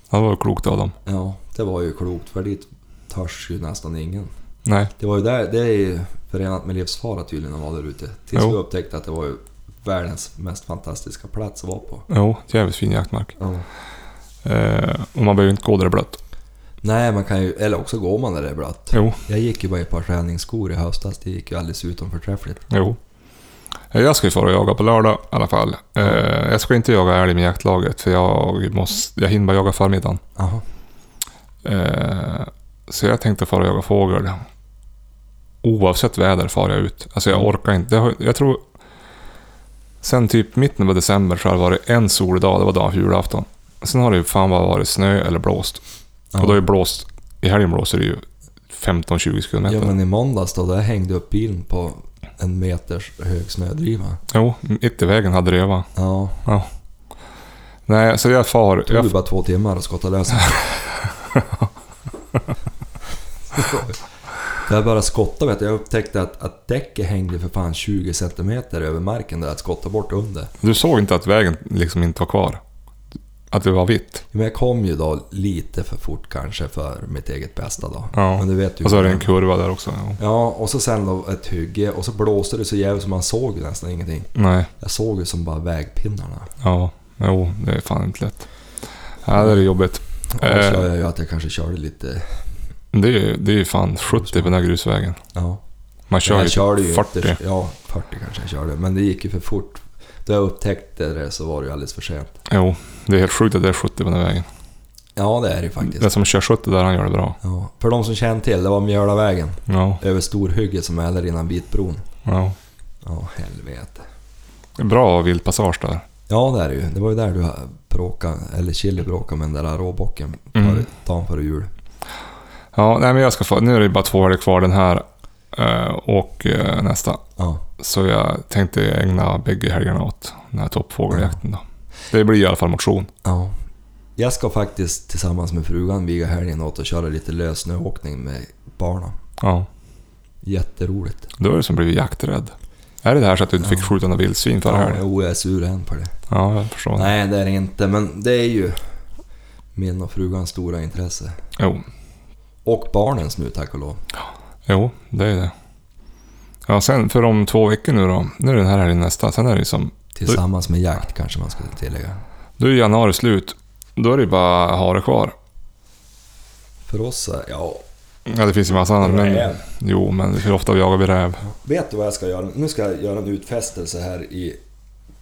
[SPEAKER 2] Ja, Det var klokt av dem.
[SPEAKER 1] Ja, det var ju klokt för dit törs ju nästan ingen.
[SPEAKER 2] Nej,
[SPEAKER 1] Det var ju där, det är ju förenat med livsfara tydligen att vara där ute. Tills
[SPEAKER 2] Jo.
[SPEAKER 1] vi upptäckte att det var ju världens mest fantastiska plats att vara på.
[SPEAKER 2] jo. Jävligt fin jaktmark. Eh, och man behöver ju inte gå där det är blött.
[SPEAKER 1] Nej, man kan ju, eller också går man där det är blött.
[SPEAKER 2] Jo,
[SPEAKER 1] Jag gick ju bara i ett par träningsskor i höstas, det gick ju alldeles utom förträffligt.
[SPEAKER 2] jo. Eh, Jag ska ju fara och jaga på lördag i alla fall. Eh, jag ska inte jaga älg med jaktlaget för jag, måste, jag hinner bara jaga förmiddagen.
[SPEAKER 1] Jaha.
[SPEAKER 2] Eh, så jag tänkte fara och jaga fågel. Oavsett väder far jag ut. Alltså
[SPEAKER 1] Mm.
[SPEAKER 2] jag orkar inte. Jag, har, jag tror... Sen typ mitten av december så har det varit en solig dag. Det var dagen för julafton. Sen har det ju fan bara varit snö eller blåst.
[SPEAKER 1] Ja.
[SPEAKER 2] Och då är det blåst... I helgen blåser det ju 15-20 kilometer.
[SPEAKER 1] Ja, men i måndags då, där hängde upp bilen på en meters hög snödriva.
[SPEAKER 2] Jo, mitt i vägen hade röva.
[SPEAKER 1] Ja,
[SPEAKER 2] Nej, så jag far...
[SPEAKER 1] tog
[SPEAKER 2] Jag,
[SPEAKER 1] ju bara två timmar att skotta lös
[SPEAKER 2] *laughs*
[SPEAKER 1] den. Jag bara skottade vet du. Jag upptäckte att, att däcket hängde för fan 20 centimeter över marken där att skotta bort under.
[SPEAKER 2] du såg inte att vägen liksom inte var kvar? Att det var vitt?
[SPEAKER 1] Men jag kom ju då lite för fort kanske för mitt eget bästa då.
[SPEAKER 2] Ja.
[SPEAKER 1] Men du vet ju.
[SPEAKER 2] Och så är det en kurva där också. Jo.
[SPEAKER 1] Ja, och så sen då ett hygge och så blåste det så jävligt så man såg ju nästan ingenting.
[SPEAKER 2] Nej.
[SPEAKER 1] Jag såg ju som bara vägpinnarna.
[SPEAKER 2] Ja, jo, det är fan inte lätt. Ja, det är jobbigt.
[SPEAKER 1] Och
[SPEAKER 2] Eh.
[SPEAKER 1] så jag ju att jag kanske körde lite...
[SPEAKER 2] Det är ju det är ju fan 70 på den här grusvägen.
[SPEAKER 1] Ja.
[SPEAKER 2] Man
[SPEAKER 1] Men
[SPEAKER 2] kör
[SPEAKER 1] jag körde ju
[SPEAKER 2] ju typ 40.
[SPEAKER 1] 40. Ja, 40 kanske jag körde. Men det gick ju för fort. Då jag upptäckte det så var det ju alldeles för sent.
[SPEAKER 2] Jo, det är helt sjukt att det är 70 på den här vägen.
[SPEAKER 1] Ja, det är det ju
[SPEAKER 2] Den
[SPEAKER 1] faktiskt.
[SPEAKER 2] som kör 70 där, han gör det bra.
[SPEAKER 1] Ja. För de som känner till, det var Mjölavägen.
[SPEAKER 2] Ja,
[SPEAKER 1] Över Storhygge som är där innan Vitbron.
[SPEAKER 2] ja.
[SPEAKER 1] Ja, helvete.
[SPEAKER 2] Bra vildpassage där.
[SPEAKER 1] Ja, det är det ju. Det var ju där du bråkade, eller Chili bråkade med den där råbocken
[SPEAKER 2] Mm.
[SPEAKER 1] före- dagen före jul.
[SPEAKER 2] Ja, nej men jag ska få... Nu är det bara två helger kvar, den här eh, och eh, nästa.
[SPEAKER 1] Ja.
[SPEAKER 2] Så jag tänkte ägna bägge helgerna åt den här toppfågeljakten då. Det blir i alla fall motion.
[SPEAKER 1] ja. Jag ska faktiskt tillsammans med frugan viga helgen åt och köra lite lössnöåkning med barnen.
[SPEAKER 2] Ja.
[SPEAKER 1] Jätteroligt.
[SPEAKER 2] Då är det som blivit jakträdd. Är det det här så att du inte fick
[SPEAKER 1] Ja.
[SPEAKER 2] skjuta några vildsvin förra
[SPEAKER 1] Ja,
[SPEAKER 2] helgen?
[SPEAKER 1] jo, jag är sur än på det.
[SPEAKER 2] Ja, jag förstår.
[SPEAKER 1] Nej, det är det inte. Men det är ju min och frugans stora intresse.
[SPEAKER 2] Jo,
[SPEAKER 1] Och barnens nu, tack och lov.
[SPEAKER 2] jo, det är det. Ja, sen för om två veckor nu då. Nu är det den här helgen nästa. Sen är det liksom...
[SPEAKER 1] Tillsammans med jakt kanske man skulle tillägga.
[SPEAKER 2] Då är januari slut. Då är det bara hare kvar.
[SPEAKER 1] För oss är... Ja,
[SPEAKER 2] Ja, det finns ju massa annat. Men,
[SPEAKER 1] räv.
[SPEAKER 2] jo, men hur ofta jagar vi räv?
[SPEAKER 1] Vet du vad jag ska göra? Nu ska jag göra en utfästelse här i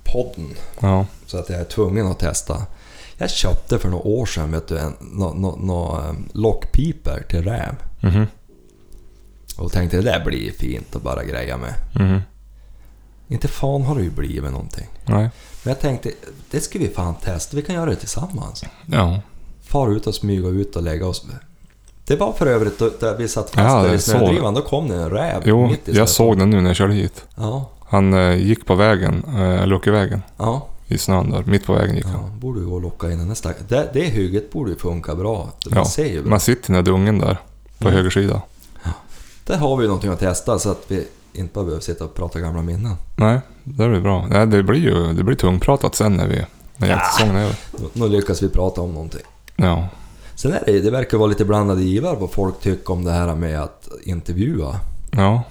[SPEAKER 1] podden.
[SPEAKER 2] Ja,
[SPEAKER 1] Så att jag är tvungen att testa. Jag köpte för några år sedan vet du, en, nå, nå, nå, em, lockpiper till räv.
[SPEAKER 2] mhm,
[SPEAKER 1] Och tänkte det där blir fint att bara greja med.
[SPEAKER 2] mhm.
[SPEAKER 1] Inte fan har det ju blivit någonting.
[SPEAKER 2] Nej,
[SPEAKER 1] Men jag tänkte, det ska vi fan testa. Vi kan göra det tillsammans.
[SPEAKER 2] ja.
[SPEAKER 1] far ut och smyga ut och lägga oss. Det var för övrigt då- där vi satt fast
[SPEAKER 2] Ja,
[SPEAKER 1] där i
[SPEAKER 2] jag såg
[SPEAKER 1] snödrivan, då kom det en räv
[SPEAKER 2] Jo,
[SPEAKER 1] mitt i
[SPEAKER 2] jag
[SPEAKER 1] snön.
[SPEAKER 2] såg den nu när jag körde hit.
[SPEAKER 1] Ja,
[SPEAKER 2] Han eh, gick på vägen, eh, Luckevägen,
[SPEAKER 1] ja,
[SPEAKER 2] i snön där. Mitt på vägen gick han.
[SPEAKER 1] ja. Borde ju gå och locka in den där stackaren. Det, det hygget borde ju funka bra. Man
[SPEAKER 2] Ja,
[SPEAKER 1] ser ju bra. Mm.
[SPEAKER 2] Man sitter i den där dungen där, på höger sida.
[SPEAKER 1] Där har vi ju någonting att testa så att vi inte bara behöver sitta och prata gamla minnen.
[SPEAKER 2] Nej, det blir bra. Nej, det blir ju det blir tungpratat sen när vi... När jaktsäsongen är över.
[SPEAKER 1] Nu- Nu lyckas vi prata om någonting.
[SPEAKER 2] Ja.
[SPEAKER 1] Sen är det, det verkar vara lite blandade givar vad folk tycker om det här med att intervjua.
[SPEAKER 2] Ja.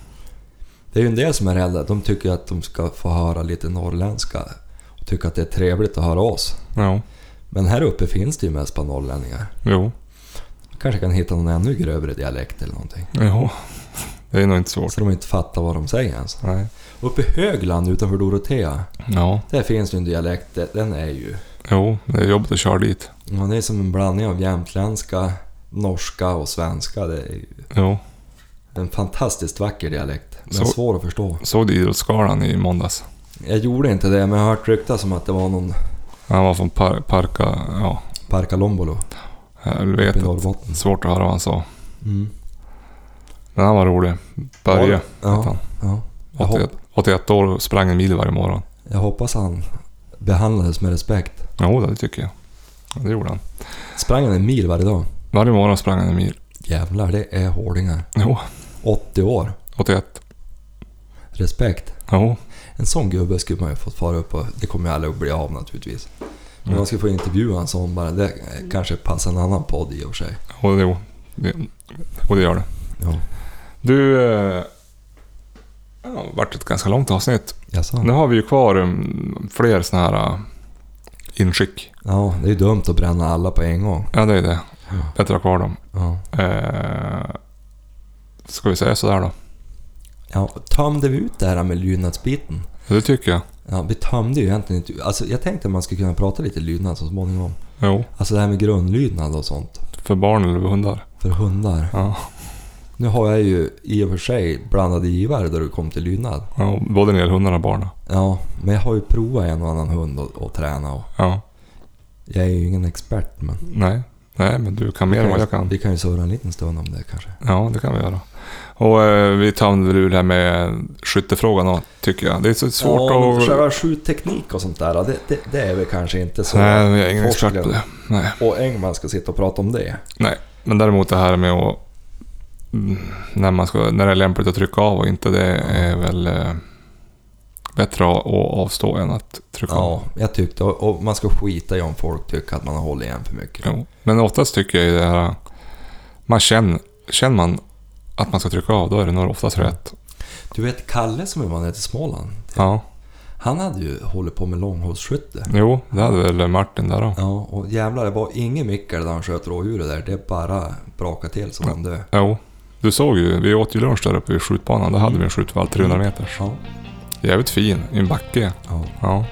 [SPEAKER 1] Det är ju en del som är rädda. De tycker att de ska få höra lite norrländska och tycker att det är trevligt att höra oss.
[SPEAKER 2] Ja.
[SPEAKER 1] Men här uppe finns det ju mest bara norrlänningar.
[SPEAKER 2] Jo.
[SPEAKER 1] kanske kan hitta någon ännu grövre dialekt eller någonting.
[SPEAKER 2] Jo. Det är nog inte svårt.
[SPEAKER 1] Så de inte fattar vad de säger ens.
[SPEAKER 2] Nej.
[SPEAKER 1] Uppe i Högland utanför Dorotea,
[SPEAKER 2] Ja.
[SPEAKER 1] där finns det en dialekt. det- Den är ju...
[SPEAKER 2] Jo. Det är jobbigt att köra dit.
[SPEAKER 1] Man är som en blandning av jämtländska, norska och svenska. Det är ju
[SPEAKER 2] Jo.
[SPEAKER 1] En fantastiskt vacker dialekt, men
[SPEAKER 2] Så-
[SPEAKER 1] svår att förstå.
[SPEAKER 2] Såg du Idrottsgalan i måndags?
[SPEAKER 1] Jag gjorde inte det, men jag har hört ryktas om att det var någon
[SPEAKER 2] Han var från par, Parka... Ja,
[SPEAKER 1] Parkalombolo
[SPEAKER 2] jag
[SPEAKER 1] uppe i
[SPEAKER 2] vet att,
[SPEAKER 1] Norrbotten.
[SPEAKER 2] Svårt att höra vad han sa.
[SPEAKER 1] Mm.
[SPEAKER 2] Men han var rolig. Börje hette
[SPEAKER 1] Ja,
[SPEAKER 2] han.
[SPEAKER 1] ja. Jag, hop-
[SPEAKER 2] 81, 81 år och sprang en mil varje morgon.
[SPEAKER 1] jag hoppas han behandlades med respekt.
[SPEAKER 2] Jo, det tycker jag. Det gjorde han.
[SPEAKER 1] Sprang han en mil varje dag?
[SPEAKER 2] Varje morgon sprang han en mil.
[SPEAKER 1] Jävlar, det är hårdingar.
[SPEAKER 2] Jo,
[SPEAKER 1] 80 år.
[SPEAKER 2] 81.
[SPEAKER 1] Respekt.
[SPEAKER 2] Jo,
[SPEAKER 1] En sån gubbe skulle man ju fått fara upp och det kommer jag aldrig att bli av naturligtvis. Men
[SPEAKER 2] Mm.
[SPEAKER 1] man skulle få intervjua en sån bara. Det eh, kanske passar en annan podd i och för sig.
[SPEAKER 2] jo, jo. Det, och det gör det.
[SPEAKER 1] Ja.
[SPEAKER 2] Du... eh, Ja, det har varit ett ganska långt avsnitt.
[SPEAKER 1] Jaså?
[SPEAKER 2] Nu har vi ju kvar mm, fler såna här eh, inskick.
[SPEAKER 1] Ja, det är ju dumt att bränna alla på en gång.
[SPEAKER 2] Ja, det är det. Bättre att ha kvar dem.
[SPEAKER 1] Ja.
[SPEAKER 2] Eh, ska vi säga sådär då?
[SPEAKER 1] ja tömde vi ut det här med lydnadsbiten?
[SPEAKER 2] Det tycker jag.
[SPEAKER 1] Ja, vi tömde ju egentligen inte Alltså jag tänkte att man skulle kunna prata lite lydnad så småningom.
[SPEAKER 2] Jo,
[SPEAKER 1] Alltså det här med grundlydnad och sånt.
[SPEAKER 2] för barn eller hundar.
[SPEAKER 1] För hundar.
[SPEAKER 2] Ja,
[SPEAKER 1] Nu har jag ju i och för sig blandade givare då du kom till lydnad.
[SPEAKER 2] ja både när det gäller hundarna och barnen.
[SPEAKER 1] Ja, men jag har ju provat en och annan hund och, och träna och
[SPEAKER 2] Ja,
[SPEAKER 1] jag är ju ingen expert men...
[SPEAKER 2] nej. Nej, men du kan mer än vad jag kan.
[SPEAKER 1] Vi kan ju surra en liten stund om det kanske.
[SPEAKER 2] Ja, det kan vi göra. Och eh, vi tömde väl ur det här med skyttefrågan då, tycker jag. Det är så svårt
[SPEAKER 1] ja, men
[SPEAKER 2] att...
[SPEAKER 1] Själva skjutteknik och sånt där, det, det, det är väl kanske inte så...
[SPEAKER 2] Nej, men jag är ingen expert på
[SPEAKER 1] forskningen.
[SPEAKER 2] det. Nej.
[SPEAKER 1] Och Engman ska sitta och prata om det.
[SPEAKER 2] nej, men däremot det här med att... mm, När, man ska, när det är lämpligt att trycka av och inte, det är väl eh, bättre att att avstå än att trycka av.
[SPEAKER 1] Ja, jag tyckte. Och, och man ska skita i om folk tycker att man har hållit igen för mycket.
[SPEAKER 2] Jo. Men oftast tycker jag ju det här... Man känner, känner man att man ska trycka av, då är det nog oftast rätt.
[SPEAKER 1] Du vet Kalle som är man till Småland.
[SPEAKER 2] Ja,
[SPEAKER 1] Han hade ju hållit på med långhållsskytte.
[SPEAKER 2] jo, det hade väl Martin där då.
[SPEAKER 1] Ja, och jävlar det var ingen mickel där han sköt rådjuret där. Det bara brakade till så han dö.
[SPEAKER 2] Jo, du såg ju. Vi åt ju lunch där uppe vid skjutbanan. Där hade vi en skjutvalv 300 meters.
[SPEAKER 1] Ja,
[SPEAKER 2] Jävligt fin, i en backe.
[SPEAKER 1] ja.
[SPEAKER 2] Ja,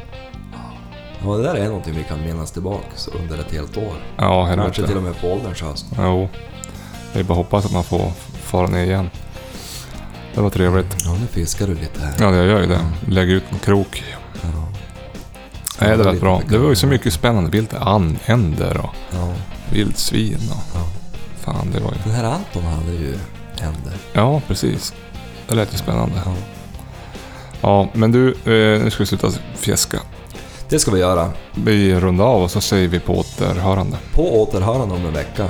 [SPEAKER 1] Ja, det där är någonting vi kan minnas tillbaks under ett helt år.
[SPEAKER 2] ja
[SPEAKER 1] Kanske till
[SPEAKER 2] helvete.
[SPEAKER 1] och med på ålderns höst.
[SPEAKER 2] Jo, det är bara att hoppas att man får fara ner igen. Det var trevligt.
[SPEAKER 1] Ja, nu fiskar du lite här.
[SPEAKER 2] Ja, det gör ju det. Lägger ut en krok.
[SPEAKER 1] Ja.
[SPEAKER 2] Nej, det lät bra. Det var ju så mycket spännande. Vilt anänder och
[SPEAKER 1] Ja,
[SPEAKER 2] vildsvin och...
[SPEAKER 1] ja.
[SPEAKER 2] Fan, det var ju...
[SPEAKER 1] Den här Anton hade ju händer.
[SPEAKER 2] Ja, precis. Det lät ju spännande.
[SPEAKER 1] Ja.
[SPEAKER 2] Ja, men du, eh, nu ska vi sluta fjäska.
[SPEAKER 1] Det ska vi göra.
[SPEAKER 2] Vi rundar av och så säger vi på återhörande.
[SPEAKER 1] På återhörande om en vecka.